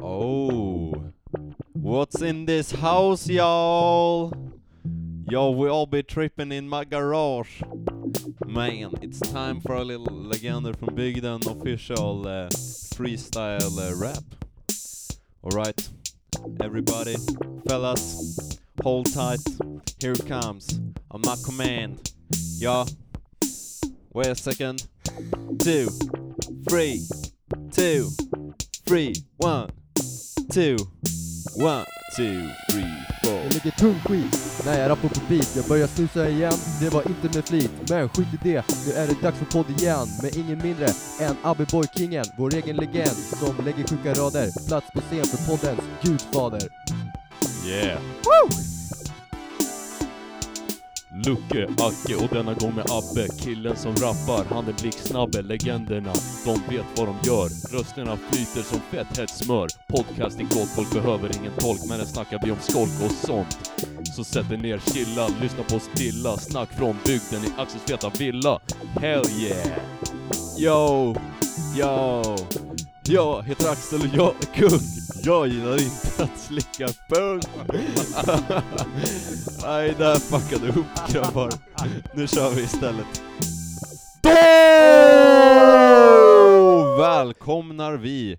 Oh. What's in this house, y'all? Yo, we all be tripping in my garage. Man, it's time for a little Legender from Bygden official uh, freestyle uh, rap. Alright, everybody, fellas, hold tight. Here it comes on my command. Yeah. Wait a second. Two, three, two, three, one, two, one, two, three, four. Jag lägger tung skit när jag rappar på beat Jag börjar snusa igen, det var inte med flit Men skit i det, nu är det dags för podd igen Med ingen mindre än Abbeboy-kingen Vår egen legend som lägger sjuka rader Plats på scen för poddens gudfader Yeah! Lucke, Acke och denna gång med Abbe Killen som rappar, han är blixtsnabbe Legenderna, de vet vad de gör Rösterna flyter som fett hett smör Podcasting gott, folk behöver ingen tolk Men här snackar vi om skolk och sånt Så sätt er ner, chilla, lyssna på stilla Snack från bygden i Axels feta villa Hell yeah! Yo, yo, jag heter Axel och jag är kung. Jag gillar inte att slicka pung. Nej, där fuckade jag upp grabbar. Nu kör vi istället. Då välkomnar vi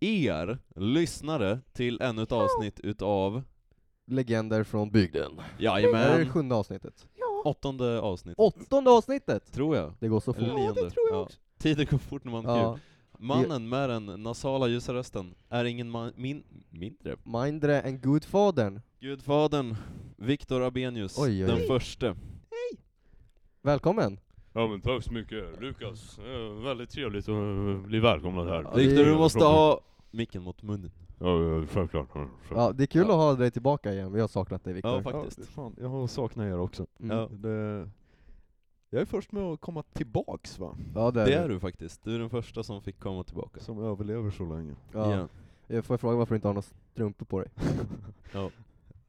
er lyssnare till ännu ett avsnitt utav Legender från bygden Det här är det Jajamän, sjunde avsnittet åttonde avsnitt Åttonde avsnittet! tror jag. Det går så fort Eller nionde. Ja. Tiden går fort när man har kul. Ja, Mannen med den nasala ljusa rösten är ingen man, min, mindre. mindre än gudfadern Gudfadern Viktor Abenius, Oj, oj, den oj. förste. Välkommen! Ja men tack så mycket Lukas, Eh, väldigt trevligt att eh, bli välkomnad här Ja, det är- Viktor, du måste ha micken mot munnen. Ja, eh, självklart. Ja, det är kul Ja. att ha dig tillbaka igen, vi har saknat dig Ja, Viktor faktiskt. fan, jag har saknat er också. Mm. Ja. Det, jag är först med att komma tillbaks va? Ja, det Det är du. du faktiskt. Du är den första som fick komma tillbaka. Som överlever så länge. Ja. Ja. Jag Får jag fråga varför du inte har några strumpor på dig?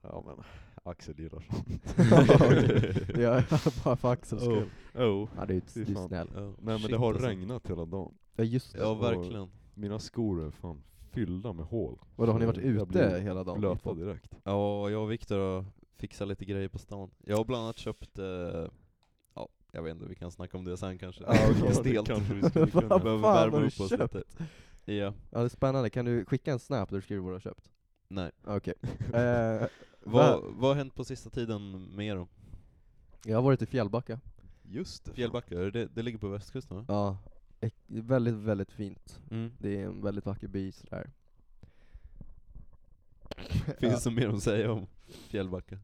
Ja men, Axel gillar Ja, bara för Axels Oh. skull. Oh. Ja, det är ju inte- Fy du är fan. snäll. Ja, Nej men shit det har alltså. regnat hela dagen. Ja just det. Ja, verkligen. Mina skor är fan fyllda med hål. Vadå, har ni varit Jag ute blir hela dagen? Blöta direkt. Ja, jag och Viktor har fixat lite grejer på stan. Jag har bland annat köpt, eh, ja, jag vet inte, vi kan snacka om det sen kanske. Ja, okej. Det är Det stelt. kanske vi skulle Vi Vad kunna. behöver fan värma har du upp oss lite. Ja, Ja det är spännande, kan du skicka en snap där du skriver vad du har köpt? nej. Okej. eh, Vad, vad har hänt på sista tiden med er då? jag har varit i Fjällbacka. Just det. fan. Fjällbacka, det, det ligger på västkusten va? Ja. ek- Väldigt, väldigt fint. Mm. Det är en väldigt vacker by sådär. Finns det mer att säga om Fjällbacka?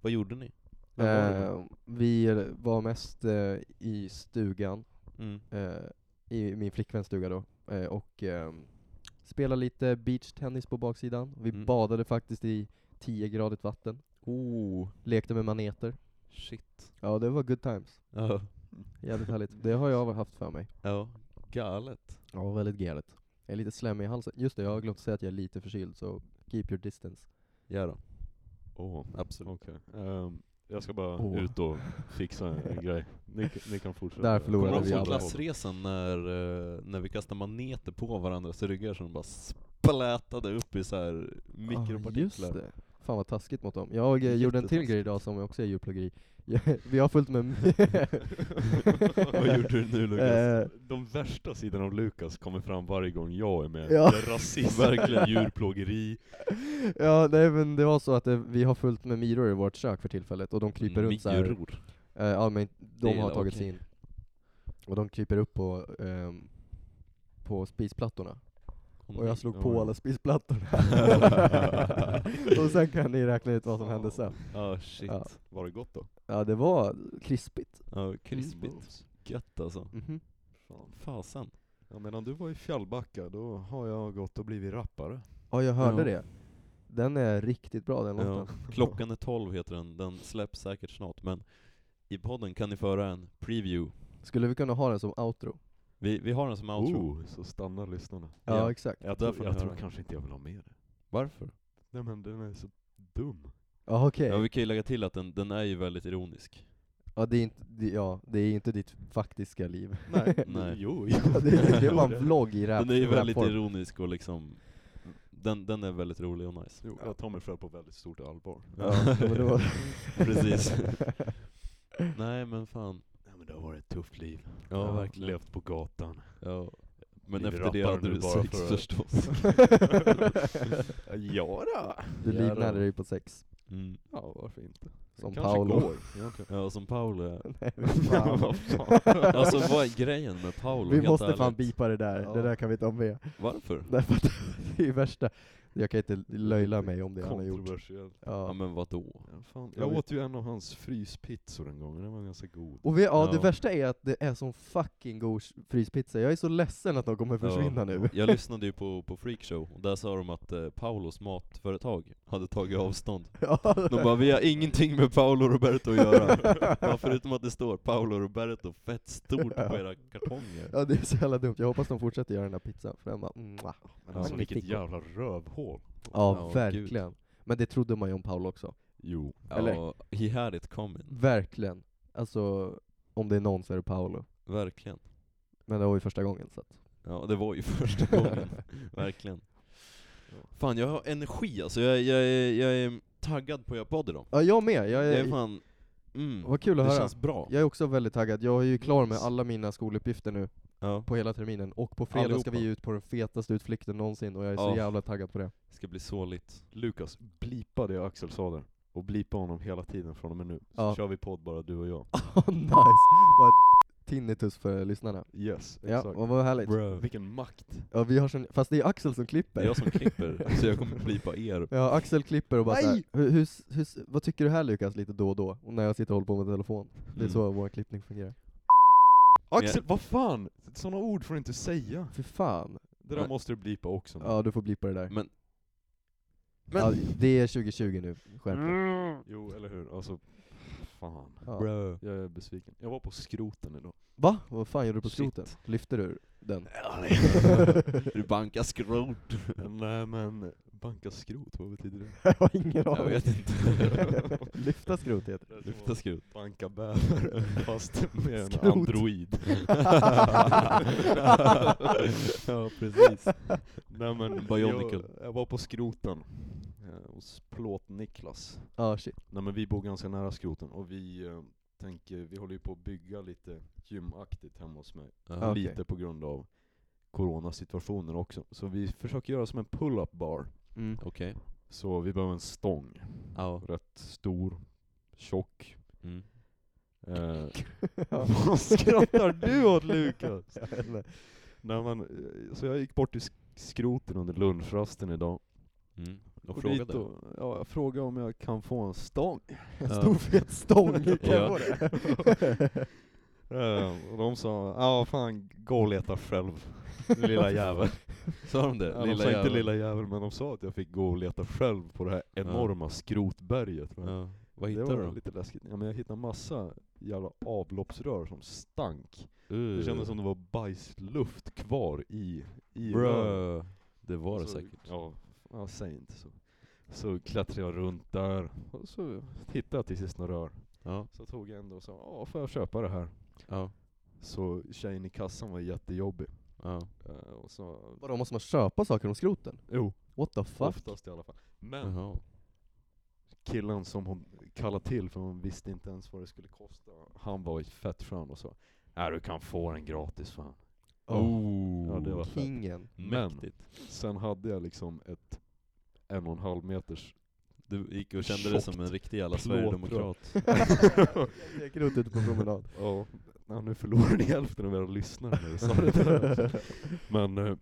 Vad gjorde ni? ja. eh, Vi var mest eh, i stugan, Mm. eh, i min flickväns stuga då, eh, och eh, spelade lite beachtennis på baksidan. Vi Mm. badade faktiskt i 10-gradigt vatten. Oh, Lekte med maneter. shit. Ja, det var good times. Ja, Jävligt härligt. Det har jag haft för mig. ja galet. Ja, väldigt galet. Jag är lite slemmig i halsen. Just det, jag har glömt säga att jag är lite förkyld, så keep your distance. Ja då, Åh, absolut. okej. Ehm, jag ska bara Åh. ut och fixa en grej. Ni, ni kan fortsätta. Där Kommer förlorade du Borde ihåg vi från alla. klassresan när, eh, när vi kastade maneter på varandras ryggar som bara splätade upp i så här mikropartiklar? Ah, just det. Fan vad taskigt mot dem. Jag eh, gjorde en till Jättetaskigt. grej idag som också är djurplågeri. Jag- Vi har fullt med... Vad gjorde du nu Lukas? Eh, De värsta sidorna av Lukas kommer fram varje gång jag är med. Ja. Det är rasism, verkligen djurplågeri. ja, nej men det var så att eh, vi har fullt med myror i vårt kök för tillfället, och de kryper runt såhär. Mikror. Eh, ja men de är har la- tagit sig okej. in. Och de kryper upp på, ehm, på spisplattorna. Åh, Och nej. jag slog Oj. på alla spisplattorna. och sen kan ni räkna ut vad som hände sen. Ja Oh, shit. Ja. Ja, Var det gott då? Ja det var krispigt. Mm. krispigt. Gött alltså. Mhm. Fan. Fasen. Ja, medan du var i Fjällbacka, då har jag gått och blivit rappare. Ja jag hörde Ja. det. Den är riktigt bra den Ja. låten. Klockan är 12 heter den, den släpps säkert snart men i podden kan ni föra en preview. Skulle vi kunna ha den som outro? Vi, vi har den som outro. Oh, så stannar lyssnarna. Ja, Ja. exakt. Jag, Där tror- får ni jag tror höra. kanske inte jag vill ha med det. Varför? Nej men den är så dum. Ja okej. Ja vi kan ju lägga till att den, den är ju väldigt ironisk. Ja, det är inte, det, ja det är inte ditt faktiska liv. Nej. Jo, Ja, det, är, det är bara en vlogg i rap. Den är ju väldigt rapform. ironisk och liksom Den, den är väldigt rolig och nice. Jo, jag tar mig själv på väldigt stort allvar. Ja, men det var- Precis. Nej men fan. Nej, men det har varit ett tufft liv. Ja, jag har verkligen. levt på gatan. Ja. Men Vi efter det rappar hade nu du bara sex för att- förstås. ja då. Du livnärde dig på sex. Mm. Ja, varför inte? Det Som kanske Paolo. går, egentligen. Ja som Paolo är. Nej, men fan. Vad fan. Alltså vad är grejen med Paolo? Vi helt måste ärligt? fan bipa det där, Ja. det där kan vi inte ha med. Varför? Därför att det är värsta, jag kan inte löjla mig om det han har gjort. Kontroversiellt. Ja Ja. men vadå? Ja, fan. Jag Jag vet. åt ju en av hans fryspizzor en gång, den var ganska god. Och vi, ja, det Ja. värsta är att det är sån fucking god fryspizza, jag är så ledsen att de kommer försvinna Ja. nu. Jag lyssnade ju på, på Freakshow, och där sa de att eh, Paulos matföretag hade tagit avstånd. Ja. De bara 'Vi har ingenting med Paolo Roberto att göra' ja, Förutom att det står Paolo Roberto fett stort på era kartonger. ja, det är så jävla dumt. Jag hoppas de fortsätter göra den här pizzan, för den var mwah. Men alltså Ja. vilket Riktigt god. jävla rövhål. Ja, Ja, verkligen. Men det trodde man ju om Paolo också. Jo. Eller? Ja, he had it coming. Verkligen. Alltså, om det är någon så är det Paolo. Verkligen. Men det var ju första gången så att... Ja, det var ju första gången. Verkligen. Fan, jag har energi alltså. Jag, jag, är- jag är taggad på att göra podd idag. Ja, jag med! Jag Jag är är... fan... Mm. Vad kul att Det höra. känns bra. Jag är också väldigt taggad. Jag är ju klar med Yes. alla mina skoluppgifter nu Ja. på hela terminen, och på fredag Allihopa. ska vi ut på den fetaste utflykten någonsin, och jag är så Ja. jävla taggad på det. Det ska bli såligt. Lukas, blipa det Axel sa där. Och blipa honom hela tiden från och med nu. Så Ja. kör vi podd bara du och jag. Oh, nice! Vad ett tinnitus för lyssnarna. Yes, Ja, exakt. och vad härligt. Bro. Vilken makt. Ja, vi har sån... Fast det är Axel som Det klipper. är jag som klipper, så jag kommer blipa er. Ja, Axel klipper och bara Aj! såhär, hur, hur, hur, vad tycker du här Lukas, lite då och då? Och när jag sitter och håller på med telefon. Det är Mm. så vår klippning fungerar. Axel, vad fan! Sådana ord får du inte säga. För fan. Det där Men- måste du blipa också. nu. Ja, du får blippa det där. Men- Ja, det är 2020 nu, skärp dig. Jo, eller hur? Alltså, fan. ja. Bro. Jag är besviken. Jag var på skroten idag. Va? Vad fan gjorde du på Shit. skroten? Lyfte du den? Du bankar skrot. Nej men, banka skrot, vad betyder det? jag har ingen Jag vet inte. Lyfta skrot heter det. Lyfta skrot. Banka bäver, fast med en Skrot. android. ja, precis. Nej men, jag, Bionicle. jag var på skroten. eh, Hos Plåt-Niklas. Ja, shit. Nej men vi bor ganska nära skroten och vi eh, tänker, vi håller ju på att bygga lite gymaktigt hemma hos mig. Ja. Ah, Okej. Lite på grund av coronasituationen också. Så vi försöker göra som en pull-up bar. Mm. Okej. Så vi behöver en stång. Ja. Rätt stor, tjock. Mm. Eh, Ja. Vad skrattar du åt Lukas? Jag vet inte. Nej, men, eh, så jag gick bort till sk- skroten under lunchrasten idag. Mm. Och Och fråga dit då. och- Ja, jag frågade om jag kan få en stång. En stor fet stång, kan jag Ja. få det? Eh, och de sa, ja fan gå och leta själv, lilla jävel. Sa de det? Ja, de sa inte lilla jävel, men de sa att jag fick gå och leta själv på det här enorma skrotberget. va. Ja. Vad Det hittade var du lite läskigt. Ja, men jag hittade massa jävla avloppsrör som stank. då? Det kändes som det var bajsluft kvar i, i rören. Bro. Det var det så, säkert. Ja, ja, säg inte så. Så klättrade jag runt där, och så hittade jag till sist några rör. Ja. Så tog jag en då och sa, ja får jag köpa det här? Ja. Så tjejen i kassan var jättejobbig. Ja. Eh, och så, Vadå, måste man köpa saker om skroten? jo, What the fuck? oftast i alla fall. Men Jaha. killen som hon kallade till, för hon visste inte ens vad det skulle kosta, han var ju fett skön och sa Ja du kan få den gratis fan. Oh. Ja, det var- Kingen. Men- Mäktigt. Sen hade jag liksom ett en och en halv meters Du gick och kände dig som en riktig jävla Plåtrör. sverigedemokrat. Jag gick runt ute på promenad. Ja, ja, nu förlorar ni hälften av era lyssnare när jag sa det där. Men eh,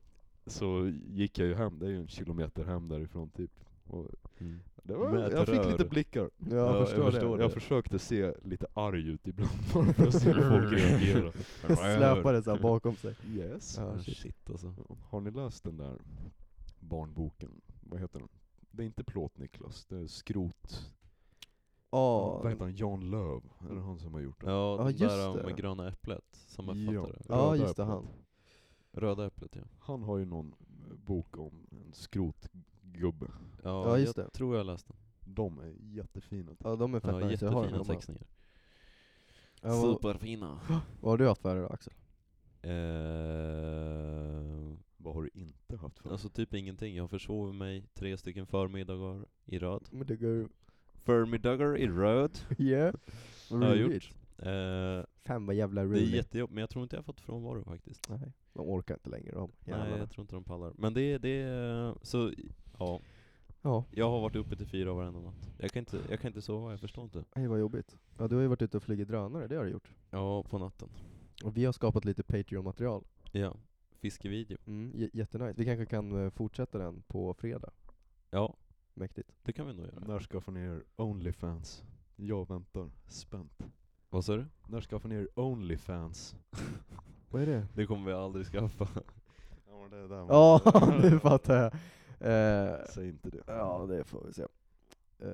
så gick jag ju hem, det är ju en kilometer hem därifrån typ. Och Mm. det var, Med ett jag fick rör. lite blickar. Ja, jag jag förstår förstår det. Jag försökte se lite arg ut ibland bara för att se hur folk reagerar. Jag släpade såhär bakom sig. Yes. Ja, Ah, shit. shit alltså. Har ni läst den där barnboken? Vad heter den? Det är inte Plåt-Niklas, det är Skrot... Ja, Vad heter han? Jan Löv? Är det han som har gjort den? Ja, den just där det. med gröna äpplet. Samma Ja. författare. ja Röda just det, äpplet. han. Röda äpplet ja. Han har ju någon eh, bok om en skrotgubbe. Ja, Ja, just jag det. tror jag läste den. De är jättefina. Alltså, Ja, de är fett Ja, nice. Jag har en jättefina av dem. teckningar. Ja, vad, Superfina. vad har du haft för dig då Axel? Eh, Vad har du inte? inte haft förut? Alltså typ ingenting, jag försover mig tre stycken förmiddagar i röd. Men det går ju... Förmiddagar i röd Yeah. har jag gjort. Eh, Fan vad jävla det är roligt. jättejobbigt, men jag tror inte jag har fått frånvaro faktiskt. Nej, de orkar inte längre de Nej, jävlarna. jag tror inte de pallar. Men det, det, eh, så, ja. Ja, Jag har varit uppe till fyra varenda natt. Jag kan inte, jag kan inte sova, jag förstår inte. hej vad jobbigt. Ja, du har ju varit ute och flugit drönare, det har du gjort. Ja, på natten. Och vi har skapat lite Patreon-material. Ja. Fiskevideo. Mm, j- jättenice. Vi kanske kan eh, fortsätta den på fredag. Ja, Mäktigt. det kan vi nog göra. När skaffar ni er Onlyfans? Jag väntar spänt. Vad sa du? När skaffar ni er Onlyfans? Vad är det? Det kommer vi aldrig skaffa. Ja, men det är där man- Ja, nu fattar jag. Eh, Säg inte det. ja, det får vi se. Eh,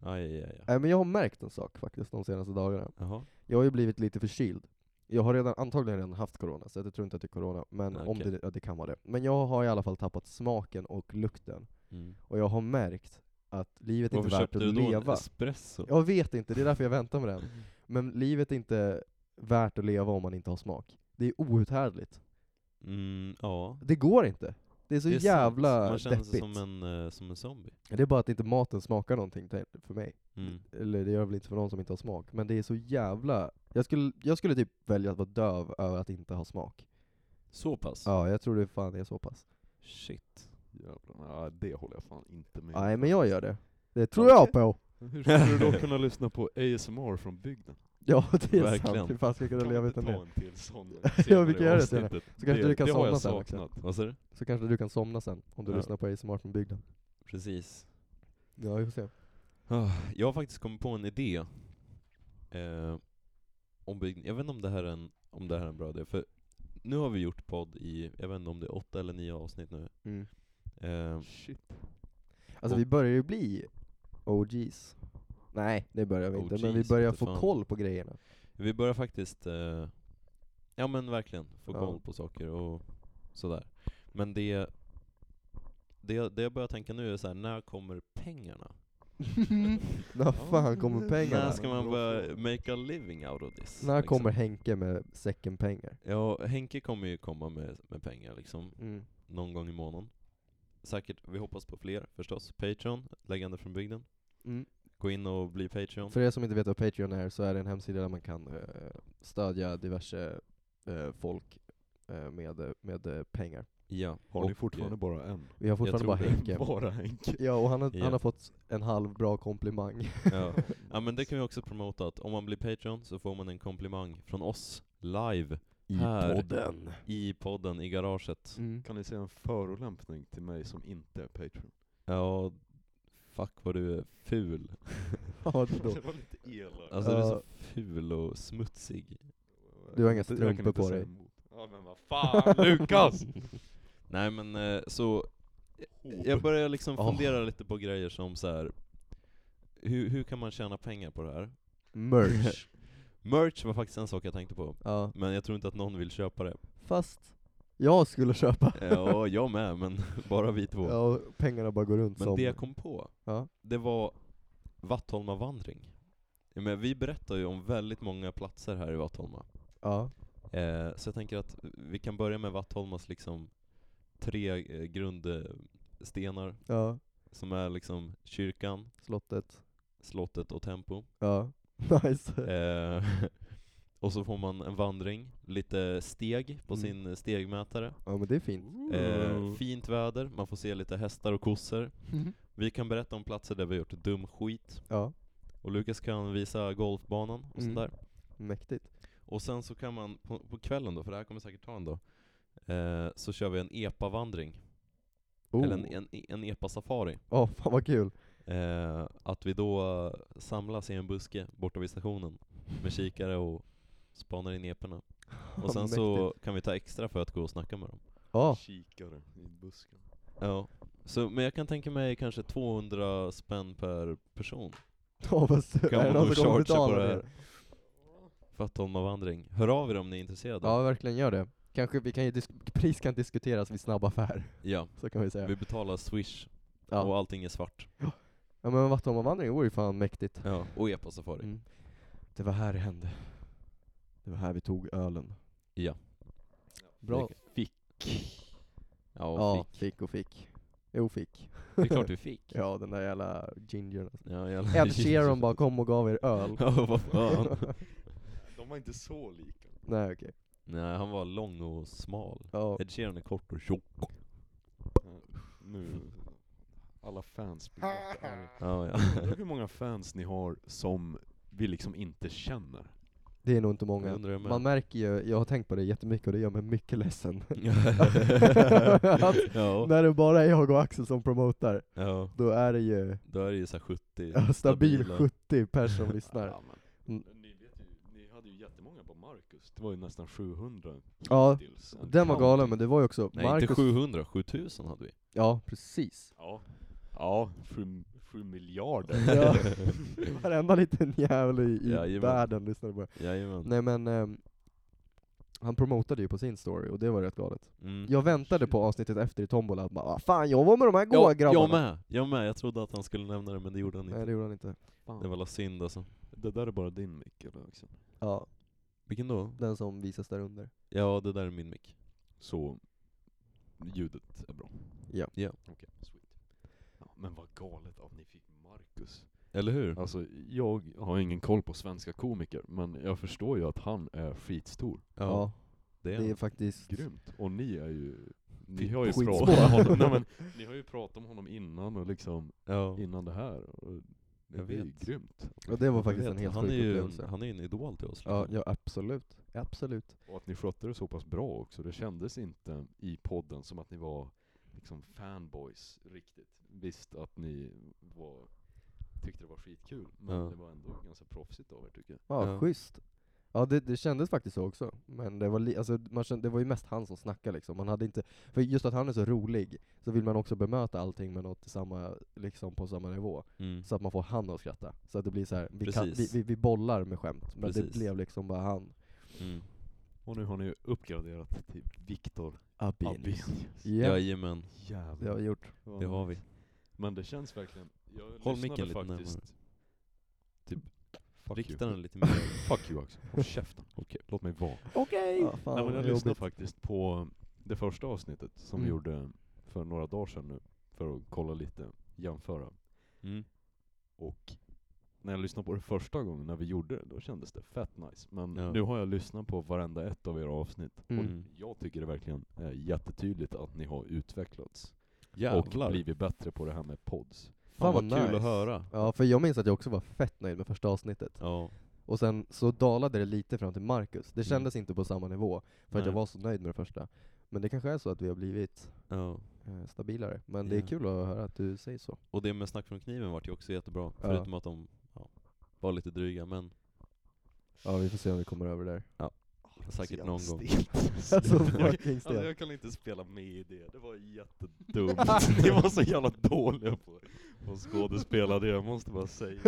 Aj, aj, aj. aj. nej, men jag har märkt en sak faktiskt de senaste dagarna. Jaha. Jag har ju blivit lite förkyld. Jag har redan, antagligen redan haft corona, så jag tror inte att det är corona, men om Okej. det, ja, det kan vara det. Men jag har i alla fall tappat smaken och lukten, Mm. och jag har märkt att livet är Varför inte är värt köpte att du då Mm. en leva. espresso? Jag vet inte, det är därför jag väntar med den. Men livet är inte värt att leva om man inte har smak. Det är outhärdligt. Mm, ja. Det går inte. Det är så Det är sant. jävla Man känner sig deppigt. som en, eh, som en zombie. Det är bara att inte maten smakar någonting till- för mig. Mm. Eller det gör väl inte för någon som inte har smak, men det är så jävla... Jag skulle, jag skulle typ välja att vara döv över att inte ha smak. Så pass? Ja, jag tror det fan är så pass. Shit. Jävlar, nej, det håller jag fan inte med Nej, men jag gör det. Det tror jag på! Hur skulle du då kunna lyssna på ASMR från bygden? Ja, det är Verkligen. sant. Hur fan ska jag kunna Kan vi leva inte utan ta det? en till sån Ja, vi kan göra det senare. avsnittet? Så kanske det, du kan det har somna jag sen också. saknat. Vad sa du? Så kanske du kan somna sen, om du Ja. lyssnar på ASMR från bygden. Precis. Ja, vi får se. Ah, Jag har faktiskt kommit på en idé. Eh, om bygg- jag vet inte om det, här är en, om det här är en bra idé, för nu har vi gjort podd i, jag vet inte om det är åtta eller nio avsnitt nu. Mm. Eh, Shit. Alltså vi börjar ju bli OGs. Nej, det börjar vi inte, men vi OGs, börjar inte få fan. koll på grejerna. vi börjar faktiskt, eh, ja men verkligen, få Ja. koll på saker och sådär. Men det, det, det jag börjar tänka nu är så här: när kommer pengarna? När fan kommer pengarna? När ska man börja make a living out of this? När liksom? kommer Henke med säcken pengar? Ja, Henke kommer ju komma med, med pengar liksom, Mm. någon gång i månaden. Säkert, vi hoppas på fler förstås. Patreon, Läggande från bygden. Mm. Gå in och bli Patreon. För er som inte vet vad Patreon är så är det en hemsida där man kan eh, stödja diverse eh, folk eh, med, eh, med eh, pengar. Ja. Har ni eh, fortfarande bara en? Vi har fortfarande bara tror det. Henke. Bara Henke. Ja, och han har, Ja. han har fått en halv bra komplimang. ja. ja, men det kan vi också promota att om man blir Patreon så får man en komplimang från oss, live, I Här. podden. i podden, i garaget. Mm. Kan ni säga en förolämpning till mig som inte är Patreon? Ja, fuck vad du är ful. Ja, det är då. var lite elakt. Alltså du är Ja. så ful och smutsig. Du har inga strumpor på dig. Ja men vad fan Lukas! Nej men eh, så, jag börjar liksom Ah. fundera lite på grejer som så här. Hur, hur kan man tjäna pengar på det här? Merch. Merch var faktiskt en sak jag tänkte på, ja. men jag tror inte att någon vill köpa det. Fast jag skulle köpa. Ja, jag med, men bara vi två. Ja, och pengarna bara går runt men som... det jag kom på, Ja. det var Vattholmavandring. Ja, Men vi berättar ju om väldigt många platser här i Vattholma. Ja. Eh, så jag tänker att vi kan börja med Vattholmas liksom tre eh, grundstenar, Ja. som är liksom kyrkan, Slottet. slottet och Tempo. Ja. Nice. Eh, och så får man en vandring, lite steg på Mm. sin stegmätare. Ja men det är fint. Eh, fint väder, man får se lite hästar och kossor. Vi kan berätta om platser där vi har gjort dum skit. Ja, Och Lukas kan visa golfbanan och Mm. sånt där. mäktigt. Och sen så kan man, på, på kvällen då, för det här kommer säkert ta en dag, eh, så kör vi en epa-vandring. Oh. Eller en, en, en epa-safari. Åh, fan vad kul. Eh, att vi då eh, samlas i en buske borta vid stationen med kikare och spanar in eporna. Och sen så kan vi ta extra för att gå och snacka med dem. Ja, Kikare i busken. Ja. Så, men jag kan tänka mig kanske 200 spänn per person. oh, vad sur. Kan Är det man någon nog som charge kommer på betala det det? här? Vattholmavandring. Hör av er om ni är intresserade. Ja, verkligen gör det. Kanske vi kan ju disk- pris kan diskuteras vid snabb affär, Ja, så kan vi säga. Vi betalar swish och Ja, allting är svart. ja men Vattholmavandring vore ju fan mäktigt. Ja. Och epa-safari. Mm. Det var här det hände. Det var här vi tog ölen. Ja. Bra. Det- Fick. Ja, och Ja, fick. fick och fick. Jo, fick. Det är klart vi fick. Ja, den där jävla gingern. alltså. Ja, jävla- Ed Sheeran bara kom och gav er öl. Ja, vad fan. De var inte så lika. Nej okej. Nej, han var lång och smal. Ja. Ed Sheeran är kort och tjock. Eh, Nu, alla fans blir jättearga. Ja, ja. Jag Undrar hur många fans ni har som vi liksom inte känner. Det är nog inte Jag många. undrar med. Man märker ju, jag har tänkt på det jättemycket och det gör mig mycket ledsen. ja. ja. När det bara är jag och Axel som promotar, ja. då är det ju Då är det ju såhär 70 ja, stabil stabila. 70 pers som lyssnar. Ja, men, Mm. ni, vet ju, ni hade ju jättemånga på Marcus, det var ju nästan 700 Ja, hittills. den var galen men det var ju också Nej inte Marcus. 700, 7000 hade vi. Ja, precis. Ja, ja 7, 7 miljarder. Ja. Varenda liten jävel i, i Jajamän. världen lyssnade på det. Jajamän. Nej men, ehm, han promotade ju på sin story och det var rätt galet. Mm. Jag väntade på avsnittet efter i Tombola och bara "Vad fan jag var med de här goa jag, grabbarna. jag med, jag med. Jag trodde att han skulle nämna det men det gjorde han inte. Nej det gjorde han inte. Fan. Det var la synd alltså. det där är bara din mick eller liksom? också. Ja, Vilken då? den som visas där under. Ja det där är min mick. Så ljudet är bra. Ja. Ja. Okej, sweet. Ja, men vad galet att ni fick Marcus. Eller hur? Alltså jag har ingen koll på svenska komiker, men jag förstår ju att han är skitstor. Ja, det är det är han. faktiskt... Grymt. Och ni är ju... Ni Skit- har ju, skitsvåra. pratat om honom. Nej, men, ni har ju pratat om honom innan och liksom Ja. innan det här. Och det Jag är ju vet. grymt. Och det var Jag faktiskt vet, en helt han, är sjuk ju en, upplevelse. han är ju en idol till oss. Ja, liksom. ja, absolut. Absolut. Och att ni skötte det så pass bra också. Det kändes inte i podden som att ni var liksom fanboys riktigt. Visst att ni var, tyckte det var skitkul, men Ja. det var ändå ganska proffsigt av er tycker jag. Ja, Ja. schysst. Ja det, det kändes faktiskt så också, men det var, li- alltså, man kände, det var ju mest han som snackade liksom, man hade inte, för just att han är så rolig, så vill man också bemöta allting med något i samma, liksom på samma nivå, Mm. så att man får han att skratta. Så att det blir så här, vi, kan, vi, Precis. vi, vi bollar med skämt, men det Precis. blev liksom bara han. Mm. Och nu har ni ju uppgraderat till Viktor Abenius. Ja, Jajamän, det har Jävlar. vi gjort. vad det har vi. nice. Men det känns verkligen, jag Håll lyssnade micken lite närmare. faktiskt. Typ, fuck Rikta you. den lite mer. Fuck you Axel, håll käften. Okej, låt mig vara. Okej! Ja, fan, Nej, men jag vad lyssnade jobbigt. faktiskt på det första avsnittet som vi Mm. gjorde för några dagar sedan nu, för att kolla lite, jämföra. Mm. Och när jag lyssnade på det första gången när vi gjorde det, då kändes det fett nice. Men Ja. nu har jag lyssnat på varenda ett av era avsnitt, Mm. Mm. och jag tycker det verkligen är jättetydligt att ni har utvecklats. Och Jävlar. blivit bättre på det här med pods. Fan Fan, vad vad kul nice. att höra. Ja, för jag minns att jag också var fett nöjd med första avsnittet. Ja. Och sen så dalade det lite fram till Marcus. Mm. Det kändes inte på samma nivå, för att jag Nej. var så nöjd med det första. Men det kanske är så att vi har blivit ja. eh, stabilare. Men det Ja. är kul att höra att du säger så. Och det med Snack från kniven vart ju också jättebra, Ja. förutom att de ja, var lite dryga, men Ja, vi får se om vi kommer över där. säkert någon gång. Alltså jag, fucking alltså stelt. jag kan inte spela med i det, det var jättedumt. Ni var så jävla dåliga på att skådespela det, jag måste bara säga.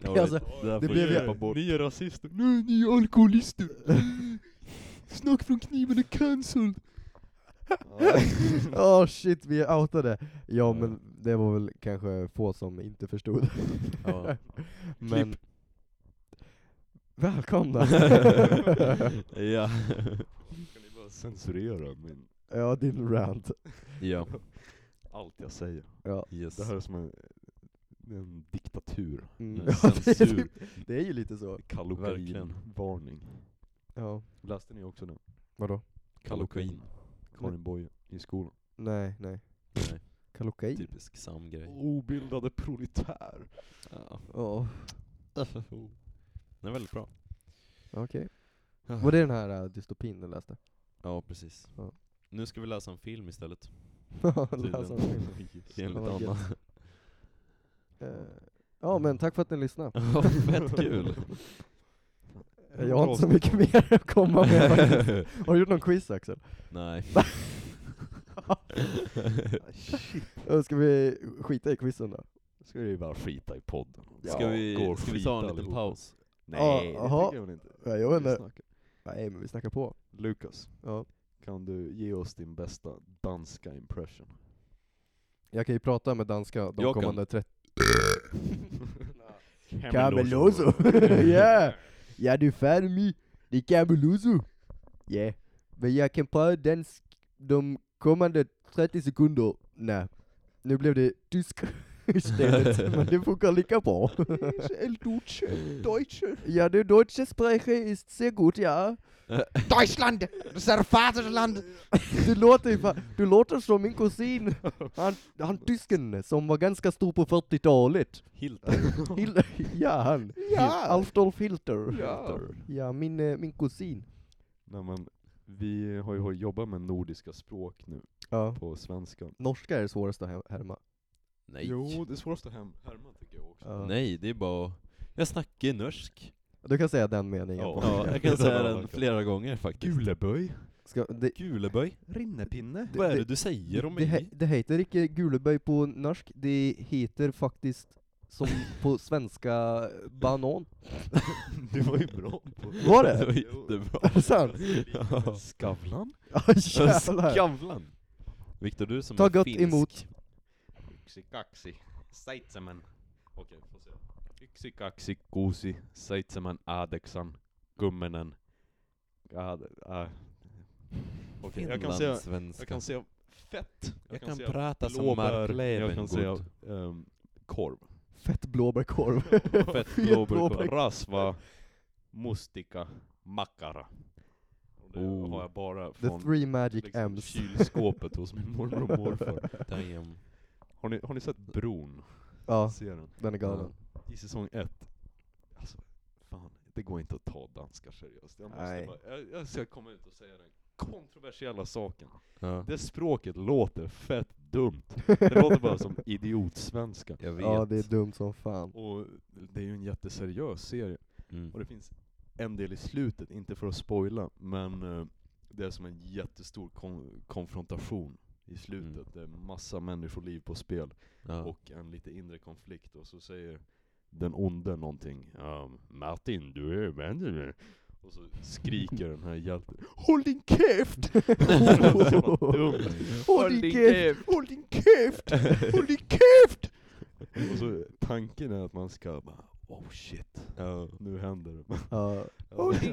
Ja, det- Alltså, det, där det får blev vi ju- klippa bort. Ni är rasister, nej ni är alkoholister! Snack från kniven är cancelled! Åh Oh, shit, vi är outade! Ja men det var väl kanske få som inte förstod. Ja. men... Välkomna! ja. Kan ni bara censurera min, ja, din rant. ja, allt jag säger? Ja. yes. Det här är som en, en diktatur. Mm. Mm. Ja, det, är Censur. typ, det är ju lite så. Verkligen. Kallokain-varning. Ja. Läste ni också den? Vadå? Kallokain. Karin Boye i skolan. Nej, nej. Nej, Kalokain? typisk samgrej. Obildade proletär. Ja. Ja, Den är väldigt bra. okej. Var det den här eh, dystopin du läste? Ja, precis. Ja. Nu ska vi läsa en film istället. Läsa en film. Enligt Ja, vad Anna. Eh, Ja men tack för att ni lyssnade. Ja, Fett kul. Jag har inte så mycket mer att komma med faktiskt. Har du gjort någon quiz Axel? Nej. Eh, Ska vi skita i quizen då? Ska vi bara skita i podden. Ska vi, ska vi ta en liten paus? Nej, det aha. tycker jag väl inte. Ja, jag vet Vi inte. snackar. Nej men vi snackar på. Lukas, Ja. kan du ge oss din bästa danska impression? Jag kan ju prata med danska de Jag kan. kommande 30... Cameloso. yeah! Ja du fan mi, det är Cameloso! Yeah. Men jag kan prata dansk de Kommande 30 sekunder, nej. Nu blev det tysk istället, men det funkar lika bra. El Duce, Deutsche. Ja, det deutsche Sprache ist sehr gut, ja. Deutschland, das är Vaterland. Du låter, ju fa- du låter som min kusin, han, han tysken som var ganska stor på 40-talet. Hilton. Hil- ja, han. Ja. Alfdolf Hilter. Ja. Ja, min, eh, min kusin. Nej, men vi har ju jobbat med nordiska språk nu Ja. på svenskan. Norska är det svåraste här hemma. Nej. Jo, det är svårast att hem- härma tycker jag också. Ja. Nej, det är bara... Jag snackar norsk. Du kan säga den meningen. Ja. Ja, jag kan säga den Tack. flera gånger faktiskt. Guleböj. Ska, det, Guleböj? Rinnepinne. Vad är det- det du säger om det, he, mig? det heter inte guleböj på norsk, det heter faktiskt som på svenska banan. Du var ju bra på Var Det var det? jättebra. Är det sant? Ja. Skavlan. Ja jävlar. Skavlan! Viktor, du som Ta är gott finsk. emot. Yksikaksi. Seitsemän. Okej, får se. Yksikaksi kuusi. Seitsemän aadeksan. Kymmenen. Ah, ah. Okej, jag kan säga, Finlandssvenska. jag kan säga fett. Jag kan prata som blåbär. Mark Jag kan säga Levengood. ehm, korv. Fett blåbärkorv. Fett blåbär. blåbärkorv. Rasva, mustika, makara. Och Det Oh. har jag bara The från three magic liksom, M's. kylskåpet hos min mormor och morfar. Damn. Har ni, har ni sett Bron? Ja, Ser den? den är galen. I säsong ett. Alltså, fan. Det går inte att ta danskar seriöst. Jag, måste Nej. bara, jag, jag ska komma ut och säga den kontroversiella saken. Ja. Det språket låter fett dumt. Det låter bara som idiotsvenska. Jag vet. Ja, det är dumt som fan. Och det är ju en jätteseriös serie. Mm. Och det finns en del i slutet, inte för att spoila, men eh, det är som en jättestor kon- konfrontation i slutet. Mm. Det är massa människoliv på spel Ja. och en lite inre konflikt och så säger den onde någonting um, Martin, du är vän Och så skriker den här hjälten Håll din käft! Sådant dumt. Håll din käft! Håll din käft! Håll din käft! Och så tanken är att man ska bara Oh shit, nu händer det. Ja,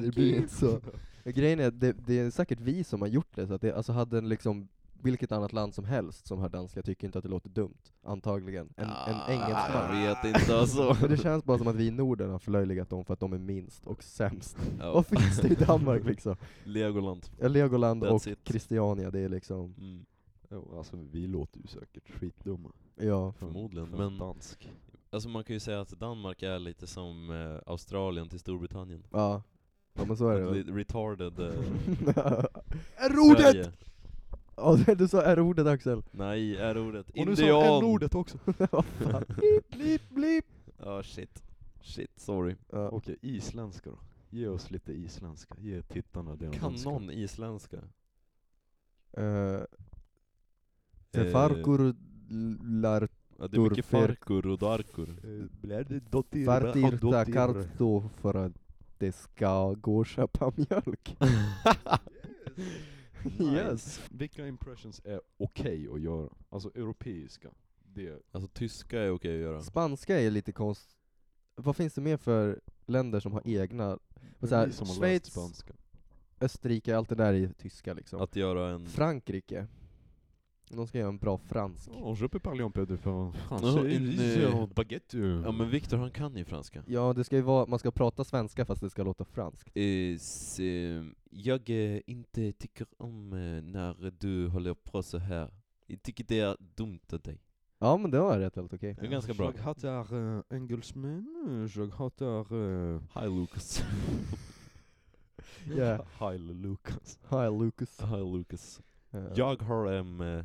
det blir inte så. Grejen är att det, det är säkert vi som har gjort det, så att det, alltså hade en liksom vilket annat land som helst som hör danska tycker inte att det låter dumt, antagligen. En, en Ah, Jag engelsman. vet inte alltså. Men det känns bara som att vi i Norden har förlöjligat dem för att de är minst och sämst. Ja. Vad finns det i Danmark liksom? Legoland. Ja, Legoland That's och it. Christiania, det är liksom, Mm. Jo, alltså vi låter ju säkert skitdumma. ja. Från- Förmodligen, från men- dansk. Alltså man kan ju säga att Danmark är lite som eh, Australien till Storbritannien. Ja, ja men så är det väl. Li- retarded eh, R-ordet! Sverige. Ja, du sa R-ordet Axel. Nej, R-ordet. Och nu sa n-ordet också! Vad fan. blip, blip, blip. Ja, shit. Shit, sorry. Ja. Okej, isländska då. Ge oss lite isländska. Ge tittarna det de Kan önskar. någon isländska? eh, Eh, Tefarkur lar Ja, det är mycket Durfer. farkur och darkur. Eh, Blir det dottir? fartirta dottir. kartto för att det ska gå och köpa mjölk. yes. Vilka impressions är okej att göra? Alltså europeiska. Det, Alltså tyska är okej att göra. Spanska är lite konst... Vad finns det mer för länder som har egna? Men så här, vi som har Schweiz- läst spanska. Österrike, allt det där är ju tyska liksom. Att göra mm. en... Frankrike. De ska göra en bra fransk. On je peux parler un peu de Ja, en, eh, baguette. Ja men Viktor han kan ju franska. Ja, det ska ju vara, man ska prata svenska fast det ska låta franskt. Eh, s- eh, jag eh, inte tycker om eh, när du håller på så här. Jag tycker det är dumt av dig. Ja men det var rätt helt okej. Det är ganska bra. Jag hatar uh, engelsmän, jag hatar... Uh, Hi Lucas. Yeah. Heil Lucas. Hi Lucas. Hi Lucas. Eh, Jag har en, eh,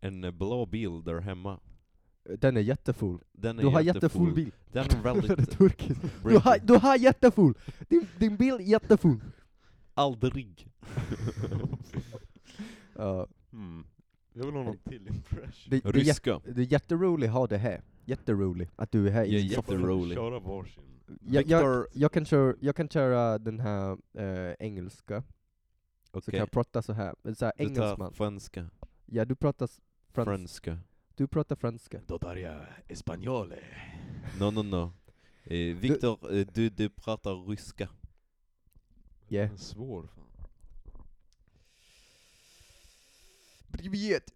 en blå bil där hemma. Den är jättefull. Den är Du har jättefull jättefull bil. Den är Det är väldigt... turkiskt. Du har, du har jättefull! Din, din bil är jättefull. Aldrig. Ja, Mm. Jag vill ha någon till impression. det, det, är jätte- Ryska. det är jätteroligt att ha det här. Jätteroligt att du är här Jag är i Stockholm. jätterolig. Köra varsin. Jag, jag, Viktor- jag, kan köra, jag kan köra den här eh, engelska, så kan Okej. jag prata så här. Men Så här Du tar engelsman. franska. Ja, du pratar s- frans- Franska. Du pratar franska. Då tar jag espanjole. No, no, no. Eh, Viktor, eh, du, du pratar ryska. Yeah. Svår fan. Privet!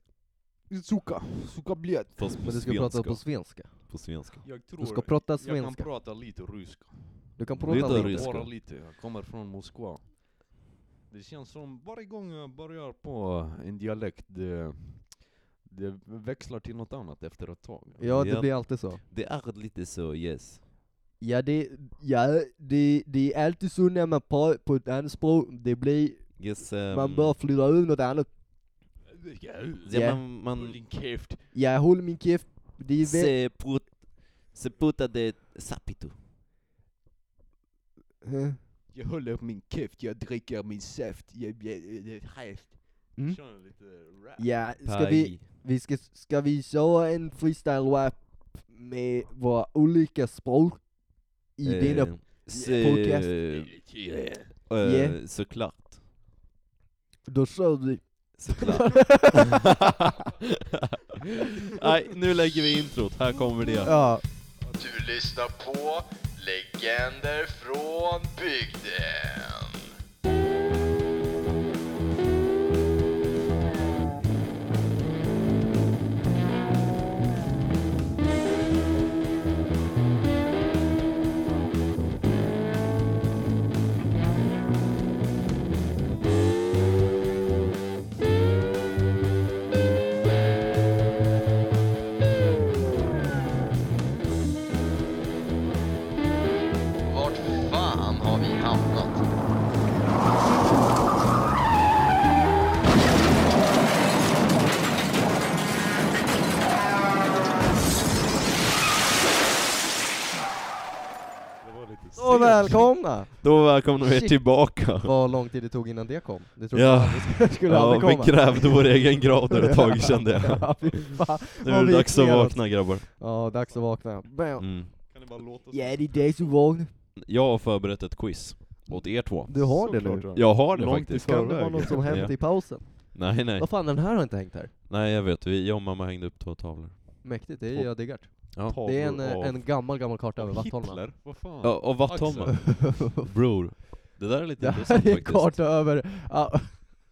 Suka, suka blöt. Fast på Men du ska prata svenska. på svenska. på svenska. Jag tror Du ska prata jag kan svenska. prata lite ryska. Du kan Lite prata lite. ryska. Bara lite, jag kommer från Moskva. Det känns som varje gång jag börjar på en dialekt, det, det växlar till något annat efter ett tag. Ja, det Ja. blir alltid så. Det är lite så, yes. Ja, det, ja, det, det är alltid så när man pratar på ett annat språk, det blir, yes ehm, man bör flytta över något annat. ja, Ja. Man, man, Din käft. Jag håller min käft, det är väl... se, put, se puta de sapito. Eh, Jag håller min käft, jag dricker min saft, jag blir häst. Mm. Kör lite rap. Ja, ska vi, vi ska, ska vi köra en freestyle-rap med våra olika språk? I Øh. dina... podcast. eh, se, eh, Yeah. Såklart. Då kör vi. Såklart. Nej, nu lägger vi introt. Här kommer det. Ja. Du lyssnar på Legender från bygden. Vart fan har vi hamnat? Så välkomna! Då välkomnar vi er Shit. tillbaka. Vad lång tid det tog innan det kom. Det trodde jag Ja, aldrig skulle ja aldrig vi komma. grävde vår egen grav där ett tag kände jag. Ja, fy fan. Nu Vad är det vi dags att knäat. vakna grabbar. Ja, dags att vakna. Bam. Mm. Ja, det är dags att vakna. Jag har förberett ett quiz åt er två. Du har det nu. Jag har det Långt faktiskt. Kan det vara något som hänt i pausen? Nej nej, Vad fan, den här har inte hängt här. nej jag vet, vi, jag och mamma hängde upp två tavlor. Mäktigt, det är jag diggar. Ja, Det är en, eh, en gammal, gammal karta över Vattholma. Hitler? Vad fan? ja och Vattholma. Bror, det där är lite Det här intressant är en faktiskt. karta över... ja,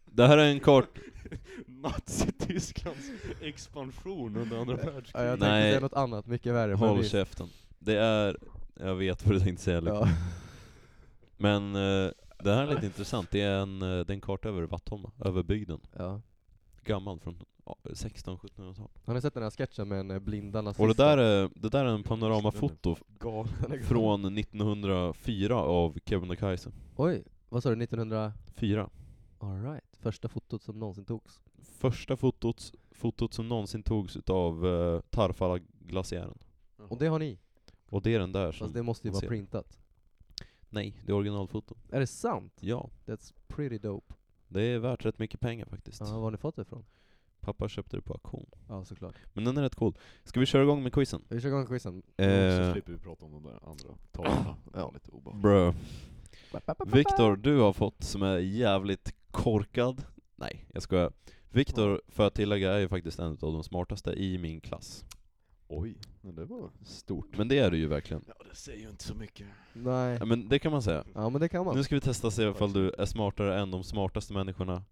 Det här är en kart, Nazitysklands expansion under andra världskriget. Ja, jag tänkte Nej. säga något annat mycket värre. men håll vi- käften. Det är, jag vet vad du tänkte säga Lukas. ja. Men eh, det här är lite intressant, det är en, eh, det är en karta över Vattholma, över bygden. ja. Gammal från 16-1700-tal. Har ni sett den här sketchen med en eh, blinda nazist? Och det där, är, det där är en panoramafoto Den är galen. från 1904 av Kebnekaise. Oj, vad sa du? 1900... Fyra. Alright. Första fotot som någonsin togs. Första fotot, fotot som någonsin togs utav uh, Tarfala-glaciären. Och det har ni. Och det är den där som... Fast det måste ju man vara ser. printat. Nej, det är originalfoto. Är det sant? Ja. That's pretty dope. Det är värt rätt mycket pengar faktiskt. Ja, var har ni fått det ifrån? Pappa köpte det på auktion. Ja, såklart. Men den är rätt cool. Ska vi köra igång med quizen? Vi kör igång quizen. Så Eh, slipper vi prata om de där andra tavlorna. Det var lite obehagligt. bro. Viktor, du har fått som är jävligt korkad. Nej, jag skojar. Viktor, för att tillägga, är ju faktiskt en av de smartaste i min klass. Oj, men det var stort. Men det är du ju verkligen. Ja, det säger ju inte så mycket. Nej. Ja, Men det kan man säga. Ja, men det kan man. Nu ska vi testa och se ifall du är smartare än de smartaste människorna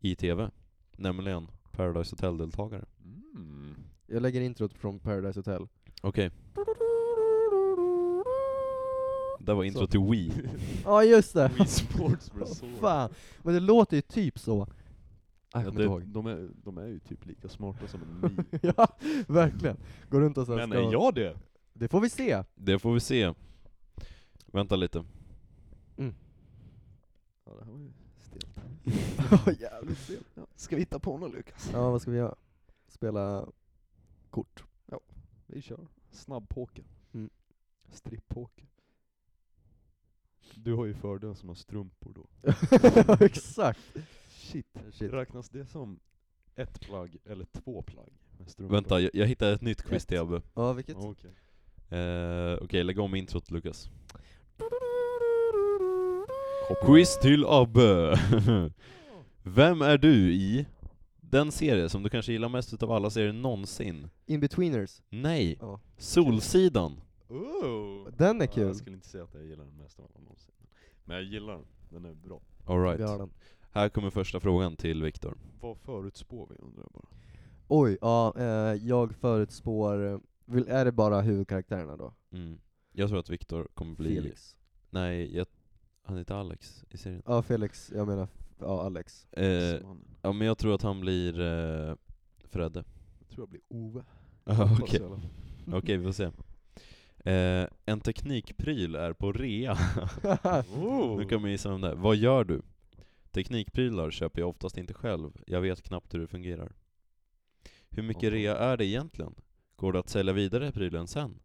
i TV. Nämligen Paradise Hotel-deltagare. Mm. Jag lägger introt från Paradise Hotel. Okej. Det var intro till Wii. Ja, just det! Wii Sports Resort. Fan! Men det låter ju typ så. Ah, Jag Ja, kommer inte det, ihåg. de, är, de är ju typ lika smarta som en mi. ja, verkligen. Går runt och så här Men är jag det? Det får vi se. Det får vi se. Vänta lite. Ja, det här var ju stelt. jävligt sent. Ja. Ska vi hitta på något Lukas? Ja, vad ska vi göra? Spela kort. Vi kör. Snabbpoker. Mm. Strippoker. Du har ju fördelen som har strumpor då. Exakt. Shit. Shit. Räknas det som ett plagg eller två plagg med strumpor? Vänta, jag, jag hittade ett nytt quiz Ett. till Abbe. Eh, Ja, vilket? Ja, Okej. Okej, lägg om introt Lukas. Quiz till Abbe! Vem är du i den serie som du kanske gillar mest utav alla serier någonsin? Inbetweeners. Nej! Ja. Solsidan! Oh. Den är Ja, kul. Jag skulle inte säga att jag gillar den mest av alla någonsin. Men jag gillar den. Den är bra. Alright. Vi har den. Här kommer första frågan till Viktor. Vad förutspår vi undrar jag bara? Oj, ja, eh, jag förutspår... eh, Vill, är det bara huvudkaraktärerna då? Mm. Jag tror att Viktor kommer bli... Felix. Nej, jag... han heter Alex i serien. Ja, Felix. Jag menar, ja, Alex. Eh, Mannen. ja men jag tror att han blir eh, Fredde. Jag tror jag blir Ove. Jaha, Hoppas Okej, i alla fall. Okej, vi får se. Eh, en teknikpryl är på rea. Ah. Oh! Nu kan man gissa vem det är. Vad gör du? Teknikprylar köper jag oftast inte själv. Jag vet knappt hur det fungerar. Hur mycket rea är det egentligen? Går det att sälja vidare prylen sen?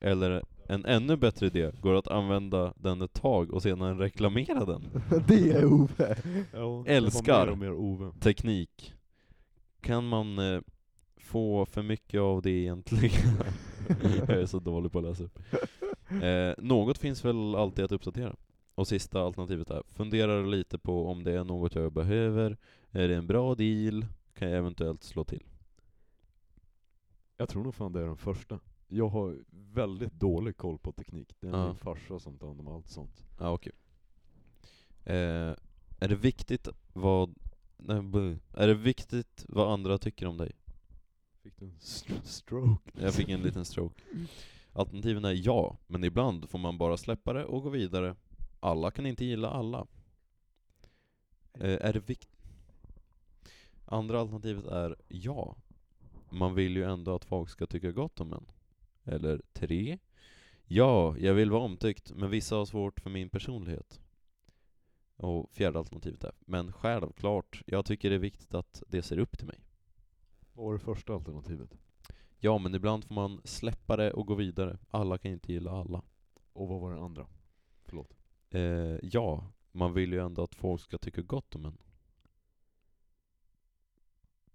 Eller en ännu bättre idé, går det att använda den ett tag och sedan reklamera den? det är Ove! Ja, Älskar. Jag var mer och mer Ove. Teknik. Kan man eh, få för mycket av det egentligen? Jag är så dålig på att läsa upp. Eh, något finns väl alltid att uppdatera. Och sista alternativet är, funderar lite på om det är något jag behöver, är det en bra deal, kan jag eventuellt slå till? Jag tror nog fan det är den första. Jag har väldigt dålig koll på teknik. Det är Ja. min farsa som tar hand om allt sånt. Ja, okej. Eh, är det viktigt vad... Nej, buh. är det viktigt vad andra tycker om dig? Fick du en st- stroke? Jag fick en liten stroke. Alternativen är ja, men ibland får man bara släppa det och gå vidare. Alla kan inte gilla alla. Eh, är det vikt... Andra alternativet är ja. Man vill ju ändå att folk ska tycka gott om en. Eller tre. Ja, jag vill vara omtyckt, men vissa har svårt för min personlighet. Och fjärde alternativet är, men självklart, jag tycker det är viktigt att det ser upp till mig. Vad var det första alternativet? Ja, men ibland får man släppa det och gå vidare. Alla kan inte gilla alla. Och vad var det andra? Förlåt. Eh, ja, man vill ju ändå att folk ska tycka gott om en.